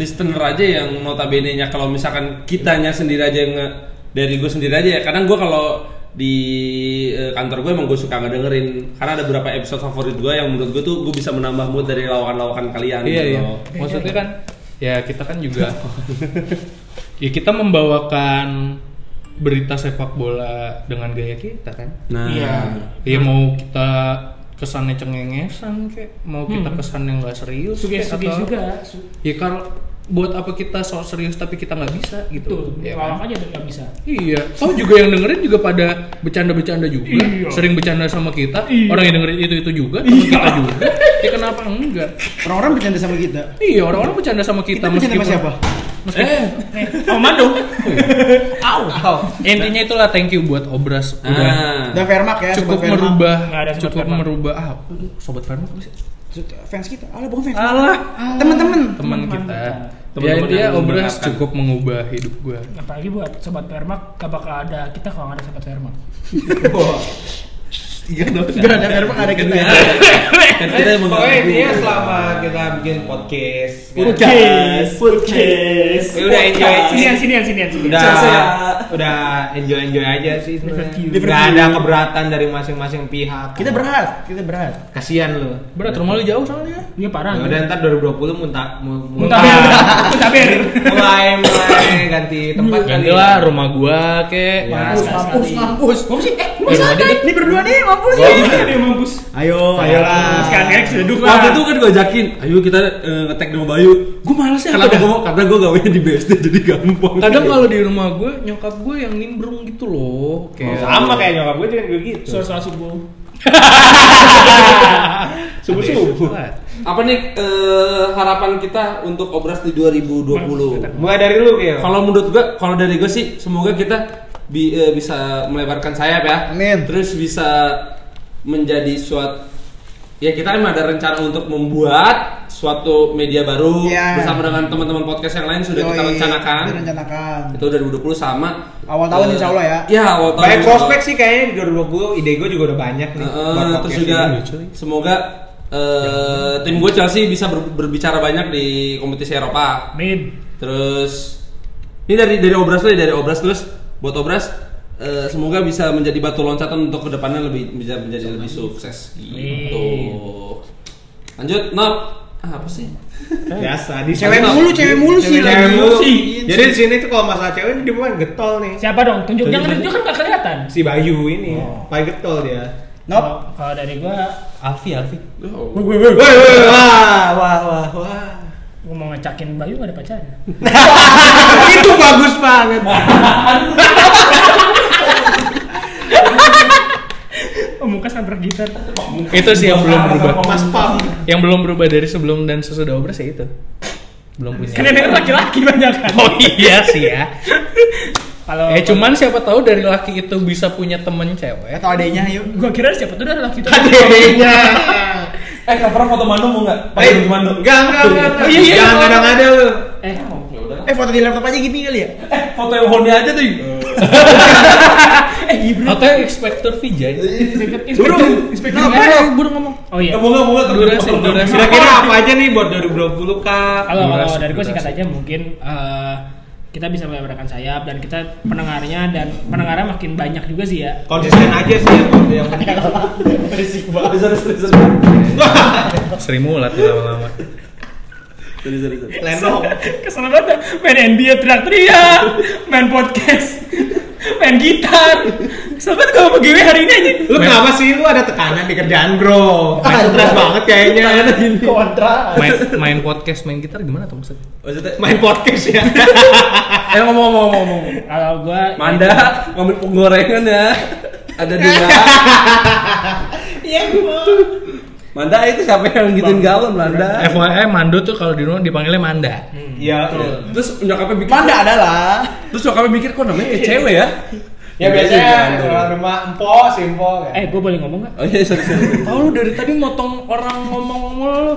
S1: 1300 listener aja yang notabene nya kalau misalkan kitanya sendiri aja yang nge- dari gue sendiri aja ya kadang gue kalau di eh, kantor gue emang gue suka ngedengerin karena ada beberapa episode favorit gue yang menurut gue tuh gue bisa menambah mood dari lawakan-lawakan kalian
S5: Iya
S1: gitu
S5: iya.
S1: loh.
S5: Maksudnya kan ya kita kan juga ya kita membawakan berita sepak bola dengan gaya kita kan.
S1: nah
S4: Iya.
S5: Ya mau kita kesannya cengengesan kayak mau kita kesan yang nggak serius
S4: Suges
S5: kek,
S4: suges
S5: atau-
S4: juga. Su-
S5: Ya kalau buat apa kita sok serius tapi kita nggak bisa gitu.
S4: Tuh,
S5: ya kan?
S4: lawak aja dan nggak bisa.
S5: Iya, tau juga yang dengerin juga pada bercanda-bercanda juga,
S4: Iya.
S5: sering bercanda sama kita,
S4: Iya.
S5: orang yang dengerin itu itu juga, sama kita juga, ya kenapa enggak?
S3: Orang-orang bercanda sama kita.
S5: Iya, orang-orang bercanda sama kita,
S3: Kita bercanda sama
S5: meskipun-
S3: siapa?
S1: eh
S4: Eh, Komando.
S5: Oh, Intinya itulah thank you buat Obras udah
S1: ah.
S3: Dan Vermak ya,
S5: cukup
S3: sobat Vermak.
S5: merubah
S4: Nggak ada sobat
S5: cukup
S4: Vermak.
S5: merubah ah sobat Verma apa sih?
S3: Fans kita. Alah, bukan fans. Ah.
S5: Alah
S3: Teman-teman.
S5: teman
S4: Teman
S5: kita.
S1: kita.
S5: Ya
S1: Teman-teman
S5: dia
S1: yang
S5: Obras
S1: memberatkan.
S5: cukup mengubah hidup gua.
S4: Apalagi buat sobat Permak, gak bakal ada kita kalau nggak ada sobat Permak.
S3: Tiga dong. Enggak ada Vermak, ada kita. ya.
S1: Iya. kan kita yang
S2: Pokoknya
S1: mengganggu.
S2: intinya selama kita bikin podcast,
S4: Podcast, podcast.
S2: Ya udah, enjoy.
S4: Sinian, sinian, sinian, sinian.
S2: udah
S1: Saya-
S2: udah enjoy enjoy aja sih.
S4: Different
S3: view.
S2: Gak ada keberatan dari masing-masing pihak.
S3: Kita berhak, kita berhak.
S2: Kasian lu.
S5: Berat rumah lu jauh soalnya.
S4: Iya parah.
S2: Ya udah ntar 2020 muntah mu-
S4: Muntaber, muntaber.
S2: mulai mulai ganti tempat
S5: Ganti lah rumah gua kek.
S2: Ya,
S3: Mampus, ya. mampus,
S2: sekali-sekali.
S3: mampus. Kamu sih eh
S5: Masa
S3: Ini berdua nih mampus.
S4: Ini mampus.
S3: Ayo,
S4: Mas
S3: ayolah.
S4: Kangex duduk lah.
S1: Waktu itu kan gue ajakin, ayo kita eh, ngetek di rumah Bayu. Gue males ya karena gue karena gue gawainya di BSD jadi gampang.
S5: kadang kalau di rumah gue nyokap gue yang nimbrung gitu loh kayak
S6: sama kayak nyokap gue juga gitu
S4: suara-suara subuh.
S6: subuh subuh
S1: apa nih eh, harapan kita untuk obras di
S3: Nah,
S1: 2020?
S6: mulai dari lu Gil
S1: Kalau menurut gue, kalau dari gue sih, semoga kita bi- eh, bisa melebarkan sayap ya.
S3: Amin.
S1: Terus bisa menjadi suatu Ya kita emang ada rencana untuk membuat suatu media baru
S3: Iya.
S1: bersama dengan teman-teman podcast yang lain sudah kita
S3: Yoi,
S1: rencanakan.
S3: Kita rencanakan.
S1: Itu 2020 sama
S3: Awal tahun
S1: eh,
S3: insya Allah ya.
S1: Iya, awal tahun.
S6: banyak
S1: insya Allah.
S6: prospek sih kayaknya di 2020 ide gue juga udah banyak nih
S1: Heeh,
S6: buat podcast
S1: terus juga
S6: ini.
S1: semoga eh, tim gue Chelsea bisa ber- berbicara banyak di kompetisi Eropa.
S4: Amin.
S1: Terus ini dari dari obras dulu ya, dari obras terus buat obras eh, semoga bisa menjadi batu loncatan untuk kedepannya lebih bisa menjadi lebih sukses gitu. Lanjut, Nob. Ah, apa sih?
S6: biasa di
S3: Cewek
S6: sini-
S3: mulu, cewek mulu sih
S6: cewek
S3: lagi.
S6: mulu
S3: Sih.
S6: jadi di sini tuh kalau masalah cewek dia bukan getol nih
S4: Siapa dong? Tunjuk yang tunjuk kan gak kelihatan.
S6: si Bayu ini paling getol dia
S3: Nop.
S4: Kalau- Kalau dari gua
S5: Alfi Alfi
S1: Oh.
S6: Woi, woi, woi,
S3: Ah,
S6: wah wah wah wah
S4: gua mau ngecakin Bayu gak ada pacarnya.
S6: itu bagus banget
S4: Oh, muka sambar gitar.
S5: itu sih yang belum berubah
S6: mas pam
S5: yang belum berubah dari sebelum dan sesudah obras ya itu belum punya
S4: Kan yang denger laki-laki banyak kan.
S5: oh iya sih ya
S4: Kalau
S5: eh cuman siapa tahu dari laki itu bisa punya temen cewek
S3: Atau adanya ya, yuk.
S4: gua kira siapa tuh dari laki itu.
S3: Iya.
S6: adeknya
S1: Eh, cover foto Manu mau nggak?
S6: eh
S1: Pakai
S6: gimana
S1: Manu.
S6: enggak enggak enggak
S4: Oh, iya, iya.
S6: jangan kadang ada lu
S4: Eh,
S3: Eh foto di laptop aja gini kali ya.
S1: Eh, foto yang Honda aja tuh.
S4: eh Ibro.
S5: atau Inspector Vijay
S4: Inspektur, inspektur, inspektur.
S5: Eh, buru ngomong
S4: Oh iya.
S1: Bunga bunga
S5: durasi durasi
S6: kira-kira apa aja nih buat 2020 kak
S4: Kalau kalau
S5: Durasi,
S4: dari gue singkat
S5: durasi.
S4: aja mungkin eh, kita bisa melebarkan sayap dan kita pendengarnya dan pendengarnya makin banyak juga sih ya.
S6: konsisten aja sih yang penting
S5: Sri Mulat tuh lama-lama
S3: Oh.
S6: lenong
S4: Kesel banget, main NBA teriak-teriak, main podcast, main gitar. Kesel banget kalau begini hari ini aja.
S6: Lu kenapa sih lu ada tekanan di kerjaan, Bro? Main stres banget kayaknya.
S5: main main podcast main gitar gimana tuh maksudnya
S1: Maksudnya,
S6: Main podcast ya.
S1: eh ngomong ngomong ngomong, ngomong.
S4: Kalau gue
S1: Manda ngambil penggorengan ya. Ada dua.
S6: Iya,
S1: Manda itu siapa yang gituin galon Manda?
S5: FYI Mando tuh kalau di rumah dipanggilnya Manda
S6: Iya.
S1: Terus nyokapnya mikir,
S3: Manda adalah.
S1: Hmm. terus nyokapnya mikir kok namanya
S5: Iya.
S1: eh, cewek ya?
S6: Ya biasanya orang rumah empo, simpo kan.
S4: Eh, gue boleh ngomong nggak?
S1: Oh iya sorry sorry.
S5: Tahu lu dari tadi motong orang ngomong mulu.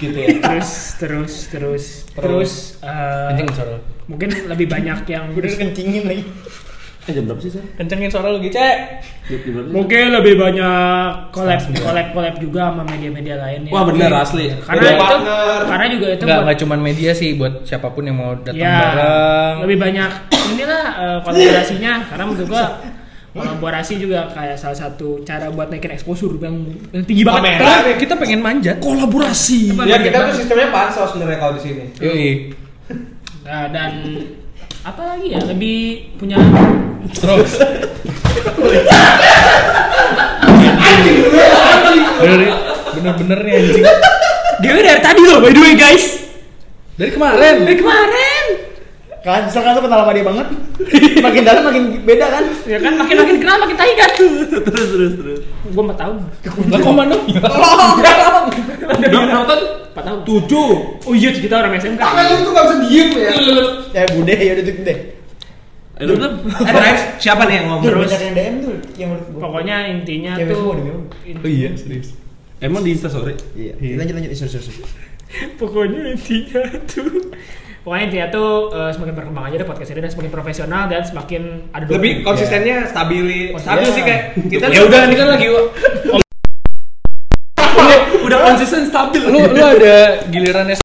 S4: Terus, terus, terus, terus. eh,
S5: Kencengin suara lu.
S4: mungkin lebih banyak yang
S3: kencingin lagi.
S1: Eh jam berapa sih saya?
S5: Kencengin suara lu, Gi, Cek.
S1: Jam berapa? sih?
S4: mungkin lebih banyak collab collab collab juga sama media-media lain ya.
S1: Wah bener
S5: Iya.
S1: asli.
S4: Karena
S6: Media
S4: itu
S6: partner.
S4: karena juga itu
S5: Enggak,
S4: buat-
S5: enggak cuman media sih buat siapapun yang mau datang
S4: ya,
S5: bareng.
S4: lebih banyak inilah eh, kolaborasinya karena menurut gua kolaborasi juga kayak salah satu cara buat naikin exposure yang, yang tinggi banget.
S6: Pamer.
S5: Eh, kita pengen manjat.
S1: Kolaborasi.
S4: Apa
S6: Ya
S4: namanya?
S6: kita tuh sistemnya pansos sebenarnya kalau di sini.
S5: Yoi.
S4: Nah, dan apa lagi ya lebih punya
S5: Terus. Bener- Bener-bener nih anjing.
S4: dia dari tadi loh by the way guys
S5: Dari kemarin.
S4: dari kemarin
S3: Kan sekarang tuh kenal sama dia banget. Makin dalam makin beda kan.
S4: ya kan makin makin kenal makin tai kan terus terus terus gua empat tahun
S5: Lah kok Mando?
S1: Oh, Berapa nonton?
S4: empat tahun
S1: Tujuh.
S4: oh iya kita orang SMK
S6: lu tuh gak bisa diem ya.
S3: Ya bude ya udah tuh deh.
S1: Eh lu belum?
S6: Terus siapa nih yang ngomong?
S3: Banyak yang DM tuh yang menurut gua.
S4: pokoknya intinya
S3: Cewek
S4: tuh
S3: semua di memang.
S5: Oh iya, serius.
S1: Emang di Insta sore?
S3: Iya. Lanjut lanjut isu isu.
S4: pokoknya intinya tuh pokoknya intinya tuh eh, semakin berkembang aja deh podcast ini dan semakin profesional dan semakin ada dua-
S6: Lebih konsistennya stabil, stabil
S3: Iya.
S6: sih kayak kita.
S5: Ya udah, ini kan lagi
S1: Udah konsisten stabil.
S5: lu lu ada gilirannya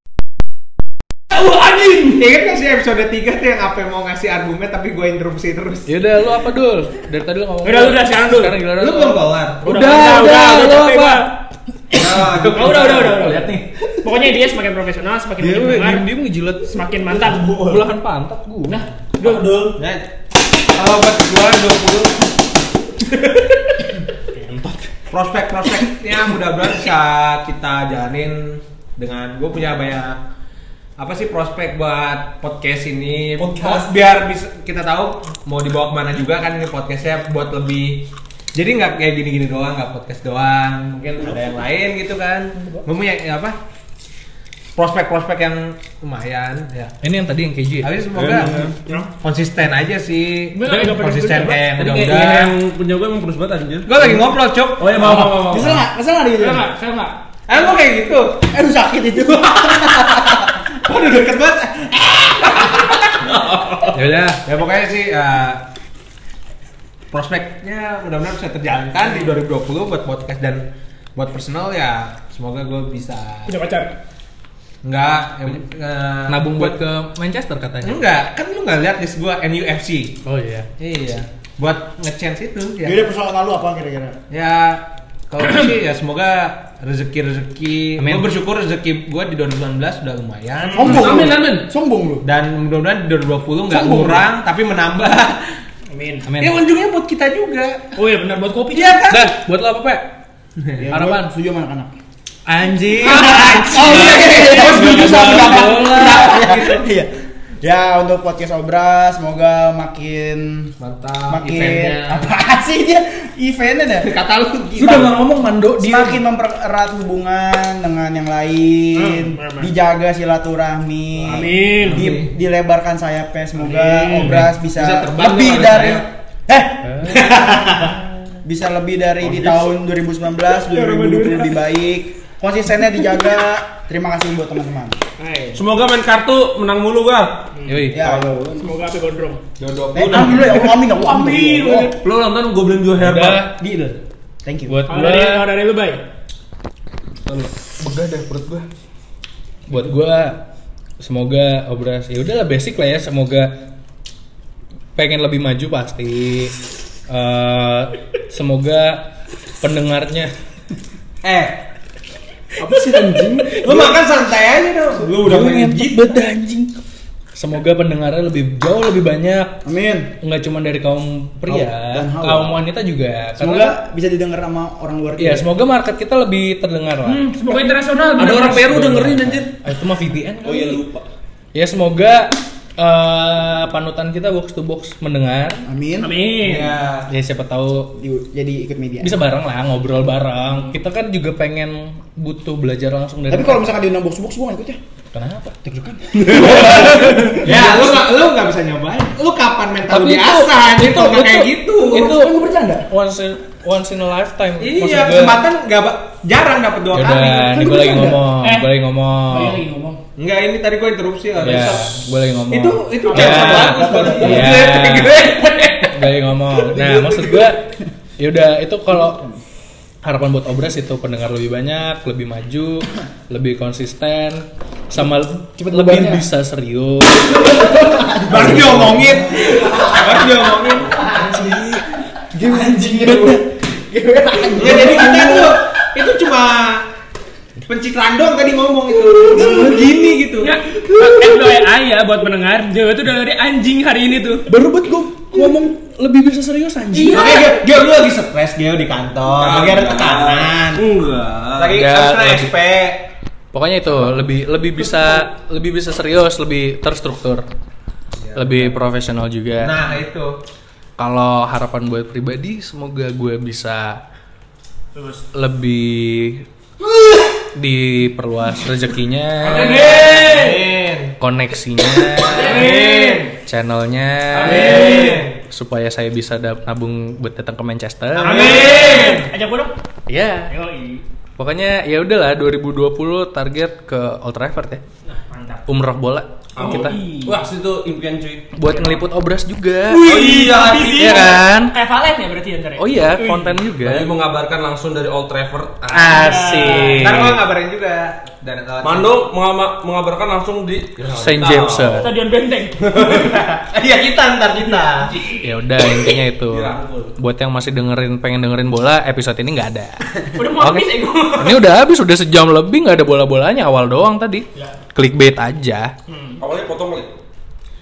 S6: Ingat gak sih Iya kan episode 3 tuh yang apa yang mau ngasih argumen tapi gue interupsi terus.
S5: Ya udah lu apa dul? Dari tadi lu ngomong.
S4: Udah, udah, sekarang Dul.
S5: Sekarang giliran
S6: Lu belum kelar.
S5: Udah,
S4: Udah,
S5: udah,
S4: udah,
S5: udah,
S4: udah
S5: lu
S4: capek
S5: apa?
S4: gua.
S6: Nah,
S4: Oh, udah, udah, udah, udah.
S5: Lihat nih.
S4: pokoknya intinya semakin profesional semakin
S1: Iya,
S5: Dia
S4: banyak
S5: gue
S4: pendengar, Nah,
S5: diem diem ngejilat Nah,
S4: semakin mantap
S5: belahan pantat gua.
S4: nah dul
S6: Nah,
S5: Kalau buat gua 20
S2: prospek-prospeknya Ya, mudah-mudahan bisa kita jalanin dengan gue punya banyak apa sih prospek buat podcast ini
S6: Podcast?
S2: biar bisa, kita tahu mau dibawa kemana juga kan ini podcastnya buat lebih jadi nggak kayak gini-gini doang nggak podcast doang mungkin ada yang lain gitu kan mempunyai apa prospek-prospek yang lumayan ya
S5: Ini yang tadi yang keju ya?
S2: tapi semoga Iya.
S5: Iya.
S2: konsisten aja sih
S4: Bener, nggak pernah
S2: konsisten eh,
S4: berubah.
S2: kayak yang
S1: Tadi
S5: Iya.
S1: kayak
S2: udah-udah
S1: yang punya gue emang pedes banget anjir.
S2: gue lagi ngobrol cok
S1: Oh ya mau mau mau. mau.
S3: Kesel nggak? Kesel nggak gitu?
S4: Saya nggak, saya nggak.
S2: eh gue kayak gitu
S3: Aduh sakit itu. Waduh deket banget.
S5: Ya udah.
S2: ya pokoknya sih eh, prospeknya mudah-mudahan bisa terjalankan di 2020 buat podcast dan buat personal ya semoga gue bisa
S4: Punya pacar.
S2: nggak ya, eh,
S5: Nabung buat ke Manchester katanya.
S2: enggak kan lu nggak lihat list gue NUFC
S5: Oh iya.
S2: iya buat ngechance itu
S6: Jadi
S2: ya
S6: persoalan lalu apa kira-kira?
S2: ya kalau gue sih ya semoga rezeki rezeki
S5: Amin.
S2: gue bersyukur rezeki gue di 2019 sudah lumayan
S6: Sombong.
S1: Amin,
S6: lu.
S1: amin.
S6: Sombong lu.
S2: dan mudah-mudahan di 2020 nggak
S6: Sombong.
S2: kurang tapi menambah
S4: Amin.
S5: Amin.
S2: ya ujungnya buat kita juga
S4: Oh iya benar buat kopi.
S2: iya kan
S5: Dan buat lo apa, Pak?
S6: Ya,
S5: Harapan.
S6: gua Setuju sama anak-anak.
S5: Anjing.
S3: Oh iya. Gue setuju sama pendapat.
S5: Bola.
S3: Iya. Ya untuk podcast Obra semoga makin
S2: mantap
S3: makin
S2: eventnya
S3: apa sih dia eventnya dah
S2: kata lu
S5: Sudah nggak ngomong mando dia.
S3: semakin mempererat hubungan dengan yang lain
S4: Hmm, benar-benar.
S3: dijaga silaturahmi
S4: Amin.
S3: di- dilebarkan sayapnya semoga
S4: Amin.
S3: obras bisa,
S2: Bisa terbang
S3: lebih
S2: tuh ada
S3: dari
S2: sayap.
S3: eh bisa lebih dari di tahun 2019 2020 lebih baik konsistennya dijaga terima kasih buat teman-teman
S1: Semoga main kartu menang mulu gua.
S5: Yoi.
S3: ya
S4: Semoga api gondrong.
S3: Eh, amin ya Allah, amin ya Allah, amin ya Allah.
S1: Lu nonton gue beliin dua herbal.
S5: Udah.
S3: thank you
S5: Buat
S4: Kalau dari
S5: gua
S4: kalau dari lu baik.
S6: Begah deh perut gua.
S5: buat gua semoga obras ya udahlah basic lah ya semoga pengen lebih maju pasti Eh, semoga pendengarnya
S2: eh
S1: Apa sih anjing?
S2: lu makan santai aja dong lu udah main
S5: beda anjing semoga pendengarnya lebih jauh lebih banyak
S3: amin
S5: nggak cuma dari kaum pria
S3: Dan hawa.
S5: kaum wanita juga
S3: semoga
S5: Karena-
S3: bisa didengar sama orang luar
S5: ya semoga market kita lebih terdengar lah
S4: Hmm, Ya, semoga internasional.
S1: Ada orang Peru dengerin anjir. Oh,
S5: Ah, itu mah VPN kali.
S1: iya, lupa.
S5: ya semoga eh, panutan kita box to box mendengar
S3: amin
S4: Amin.
S1: Iya.
S2: ya
S5: ya siapa tahu
S3: Di- jadi ikut media
S5: bisa bareng lah ngobrol bareng kita kan juga pengen butuh belajar langsung dari
S3: Tapi kalau misalkan diundang box box gue ikut ya. kan.
S5: kenapa deg-degan
S2: ya lu nggak lu nggak bisa nyobain lu kapan mental
S5: Tapi itu-
S2: biasa
S5: itu-
S2: itu nggak
S5: itu-
S2: kayak gitu
S5: itu
S3: Kan gue bercanda.
S5: once in, once in a lifetime
S2: iya kesempatan nggak ba- jarang dapat dua
S5: Ya udah
S2: kali
S3: Kan
S5: ini gue lagi
S3: bercanda.
S5: ngomong
S4: Eh.
S5: gue lagi ngomong
S4: Balik
S3: iya.
S4: lagi ngomong.
S2: nggak ini tadi gua interupsi lah
S5: ya
S2: Rusak.
S5: gue lagi ngomong
S2: itu itu
S5: Ya.
S2: cara bagus buat
S5: Iya.
S4: Eh,
S2: gue.
S5: Gak yang ngomong. Nah, maksud gue, yaudah itu kalau harapan buat Obras itu pendengar lebih banyak, lebih maju, lebih konsisten, sama lebih bisa serius.
S2: baru diomongin baru diomongin ya jadi kita tuh itu cuma pencitraan doang tadi ngomong itu begini gitu
S4: Ya, eh, doa ayah buat pendengar. Jawa itu doa dari anjing hari ini tuh.
S5: Baru buat gue ngomong lebih bisa serius anjing.
S2: Oke, Gio, Gio, lu lagi stres Gio di kantor,
S5: Nah,
S2: lagi ada tekanan,
S1: Ah, Enggak.
S2: lagi
S5: Enggak,
S2: harus kena
S5: lagi-
S2: SP.
S5: Pokoknya itu lebih lebih bisa lebih bisa serius, lebih terstruktur, lebih profesional juga.
S2: Iya, Nah itu,
S5: Kalau harapan buat pribadi, semoga gue bisa lebih diperluas rezekinya,
S2: amin,
S5: koneksinya,
S2: amin,
S5: channelnya,
S2: amin,
S5: supaya saya bisa dap- nabung buat datang ke Manchester.
S2: amin.
S4: Ajak gue dong.
S5: Ya,
S4: Yoi.
S5: pokoknya ya udahlah 2020 target ke Old Trafford ya,
S4: Nah, mantap.
S5: umroh bola kita,
S1: Wah, situ impian cuy.
S5: buat ngeliput obras juga.
S1: Oh iya,
S2: ya.
S5: Iya kan?
S4: Kayak Valen ya berarti ya ntar ya?
S5: Oh iya, konten juga.
S1: Tadi mengabarkan langsung dari Old Trafford. Ah.
S5: Asik.
S2: Ntar gua ngabarin juga dan eh,
S1: Mando mengama- mengabarkan langsung di
S5: Saint James.
S4: Stadion Benteng.
S2: Iya kita ntar kita.
S5: Ya udah intinya itu.
S1: Dirangkul.
S5: Buat yang masih dengerin pengen dengerin bola, episode ini nggak ada.
S4: Udah mau
S5: Oke.
S4: habis ego.
S5: Ini udah habis, udah sejam lebih nggak ada bola-bolanya awal doang tadi. Clickbait aja.
S1: Awalnya potong lagi.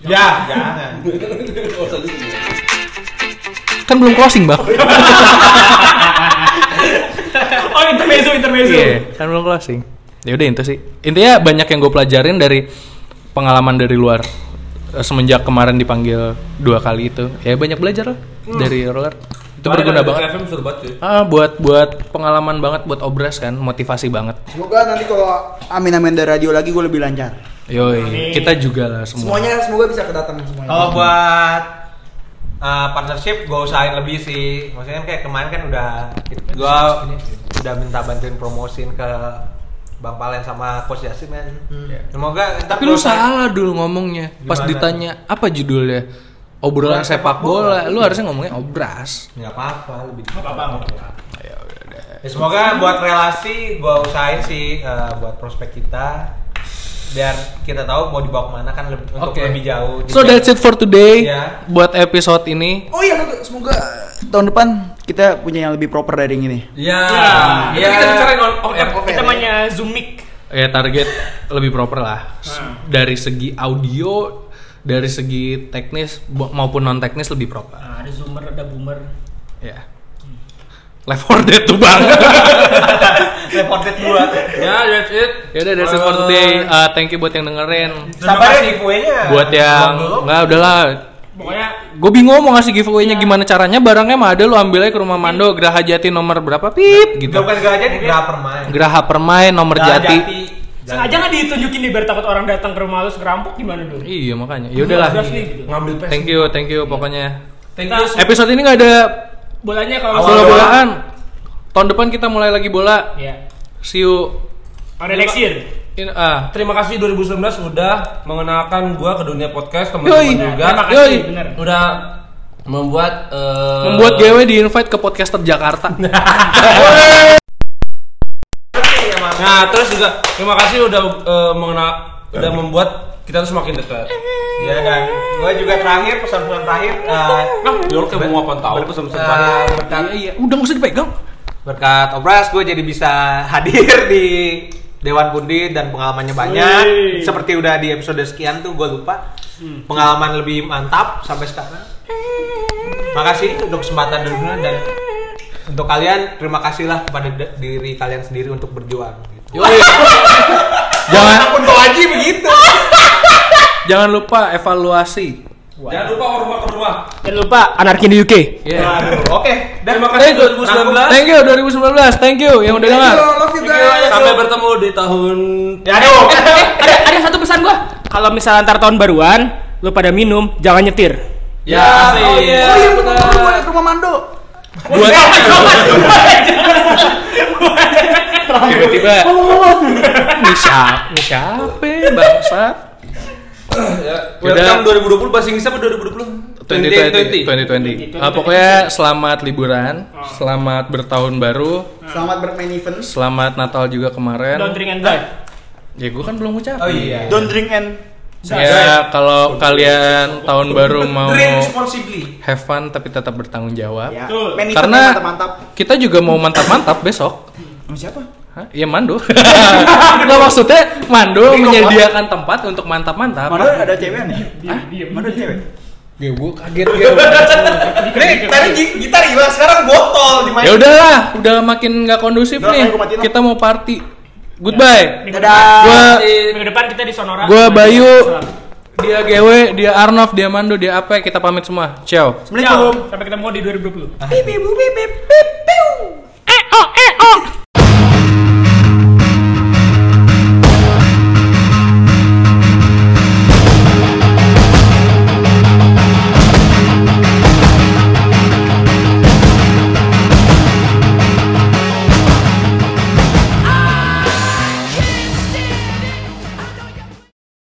S2: Ya jangan.
S1: Oh, tadi.
S5: kan belum closing bang
S4: oh intermezzo intermezzo
S5: Iya, kan belum closing. Ya udah itu sih. Intinya banyak yang gue pelajarin dari pengalaman dari luar Eh, semenjak kemarin dipanggil dua kali itu. Ya banyak belajar lah dari roller. Itu berguna banget.
S1: FM seru banget cuy.
S5: Ah, buat buat pengalaman banget buat obras kan, motivasi banget.
S3: Semoga nanti kalau amin amin dari radio lagi gue lebih lancar.
S5: Yoi, kita juga lah semua.
S3: Semuanya semoga bisa kedatangan semuanya.
S2: Kalau buat uh, partnership gue usahain lebih sih. Maksudnya kayak kemarin kan udah gue udah minta bantuin promosiin ke Bang Palen sama Coach Yasin kan.
S1: Hmm.
S2: Semoga ntar
S5: Tapi lu
S2: gua-
S5: salah dulu ngomongnya. Pas
S2: Gimana?
S5: ditanya apa judulnya? Obrolan sepak bola. Lu harusnya ngomongnya obras.
S2: nggak apa-apa lebih.
S4: apa-apa, nggak apa-apa.
S2: Ya, semoga buat relasi gue usahain sih eh, buat prospek kita biar kita tahu mau dibawa kemana kan lebih, untuk
S5: Oke.
S2: lebih jauh.
S5: So that's it for today
S2: Iya.
S5: buat episode ini.
S3: Oh iya, semoga tahun depan kita punya yang lebih proper dari yang ini.
S2: Iya.
S1: Iya.
S2: Iya.
S1: Kita bicarain on off air.
S4: kita mainnya zoom mic
S5: ya target lebih proper lah S- dari segi audio dari segi teknis bo- maupun non teknis lebih proper
S4: Nah, ada zoomer ada boomer
S5: ya left for dead tuh bang
S2: Reported dua.
S1: Ya, that's it.
S5: ya udah that's it for today Uh, thank you buat yang dengerin
S2: Sampai ada ya, giveaway-nya.
S5: buat yang nggak udahlah
S4: pokoknya
S5: gue bingung mau ngasih giveaway-nya gimana caranya barangnya mah ada lu ambil aja ke rumah Mando Geraha Jati nomor berapa pip
S2: Gak
S5: gitu
S2: bukan gak aja, gak permain.
S5: Geraha Permai nomor Jati
S4: sengaja nggak ditunjukin nih biar takut orang datang ke rumah lu ngerampok gimana dong
S5: iya makanya ya udahlah
S4: Obras nih, gitu.
S1: Ngambil pes.
S5: thank you thank you pokoknya
S1: Thank you.
S5: episode ini nggak ada
S4: bolanya kalau
S5: bola bolaan tahun depan kita mulai lagi bola
S4: ya
S5: see you
S4: ada next year
S5: in ah
S1: Terima kasih 2019 udah mengenalkan gua ke dunia podcast
S5: Yoi.
S1: teman-teman juga.
S4: terima kasih
S5: Yoi.
S4: bener
S1: Udah membuat eh,
S5: membuat GW di invite ke podcaster Jakarta
S1: Nah, terus juga terima kasih udah eh, mengenal udah membuat kita tuh semakin dekat.
S2: Ya kan. Gue juga terakhir pesan-pesan terakhir eh,
S1: Nah, York kayak mau apa tahu tuh
S2: eh,
S1: sama-sama.
S2: berkat,
S1: iya.
S5: udah gak usah dipegang
S2: berkat obras gue jadi bisa hadir di Dewan Pundi dan pengalamannya banyak.
S4: Wih.
S2: Seperti udah di episode sekian tuh gue lupa. Pengalaman lebih mantap sampai sekarang. Makasih untuk kesempatan dunia dan untuk kalian terima kasihlah kepada de- diri kalian sendiri untuk berjuang. Gitu.
S5: jangan
S2: Pun kau aja begitu.
S5: jangan lupa evaluasi
S1: Jangan lupa orang rumah ke rumah.
S4: jangan lupa anarki di UK
S5: yeah.
S2: Waduh, Oke, dan
S1: Terima kasih
S5: Eh,
S1: 2019.
S5: thank you 2019 thank you yang udah dengar
S1: Sampai bertemu di tahun
S5: Eh,
S2: ya
S5: oh.
S2: aduh.
S4: ada ada satu pesan gua kalau misalnya antar tahun baruan lu pada minum jangan nyetir
S1: ya, asik.
S2: oh iya.
S3: Oh iya, betul. Gue boleh ke rumah Mando.
S5: buat tiba-tiba ini siapa ini siapa bangsat
S1: Ya,
S5: Udah.
S1: Welcome 2020 bahasa Inggris apa 2020?
S5: 2020
S1: 2020.
S5: 2020 Ah, pokoknya selamat liburan selamat bertahun baru
S3: Selamat bermain event.
S5: Selamat Natal juga
S4: don't
S5: kemarin.
S4: drink and drive
S5: Ya gue kan belum ngucapin.
S2: Oh iya.
S3: Don't drink and
S5: Ya kalau kalian tahun baru mau
S2: Drink responsibly.
S5: have fun tapi tetap bertanggung jawab.
S3: ya.
S4: Betul.
S3: Main event
S5: Karena
S3: mantap-mantap.
S5: kita juga mau mantap-mantap besok.
S3: Sama siapa?
S5: Hah? Ya Mando. Nggak maksudnya Mando menyediakan tempat untuk mantap-mantap.
S3: Mando ada cewek nih. Hah? Mando ada cewek.
S5: Ya gue kaget gue.
S2: Ini tadi gi- gitar hilang, sekarang botol dimainin.
S5: ya udahlah, udah makin nggak kondusif
S3: Udah,
S5: nih.
S3: ayo, gua Ya, matiin lah.
S5: Kita mau party. Goodbye.
S4: Minggu depan-
S5: Gua-
S4: minggu depan kita di Sonora
S5: Gue Bayu,
S4: Salam.
S5: dia GW, dia Arnov, dia Mando, dia apa? Kita pamit semua. Ciao.
S4: Ciao.
S3: Assalamualaikum.
S4: sampai ketemu di 2020
S3: Bip, bip, bip, bip, bip, piu.
S4: eh oh eh oh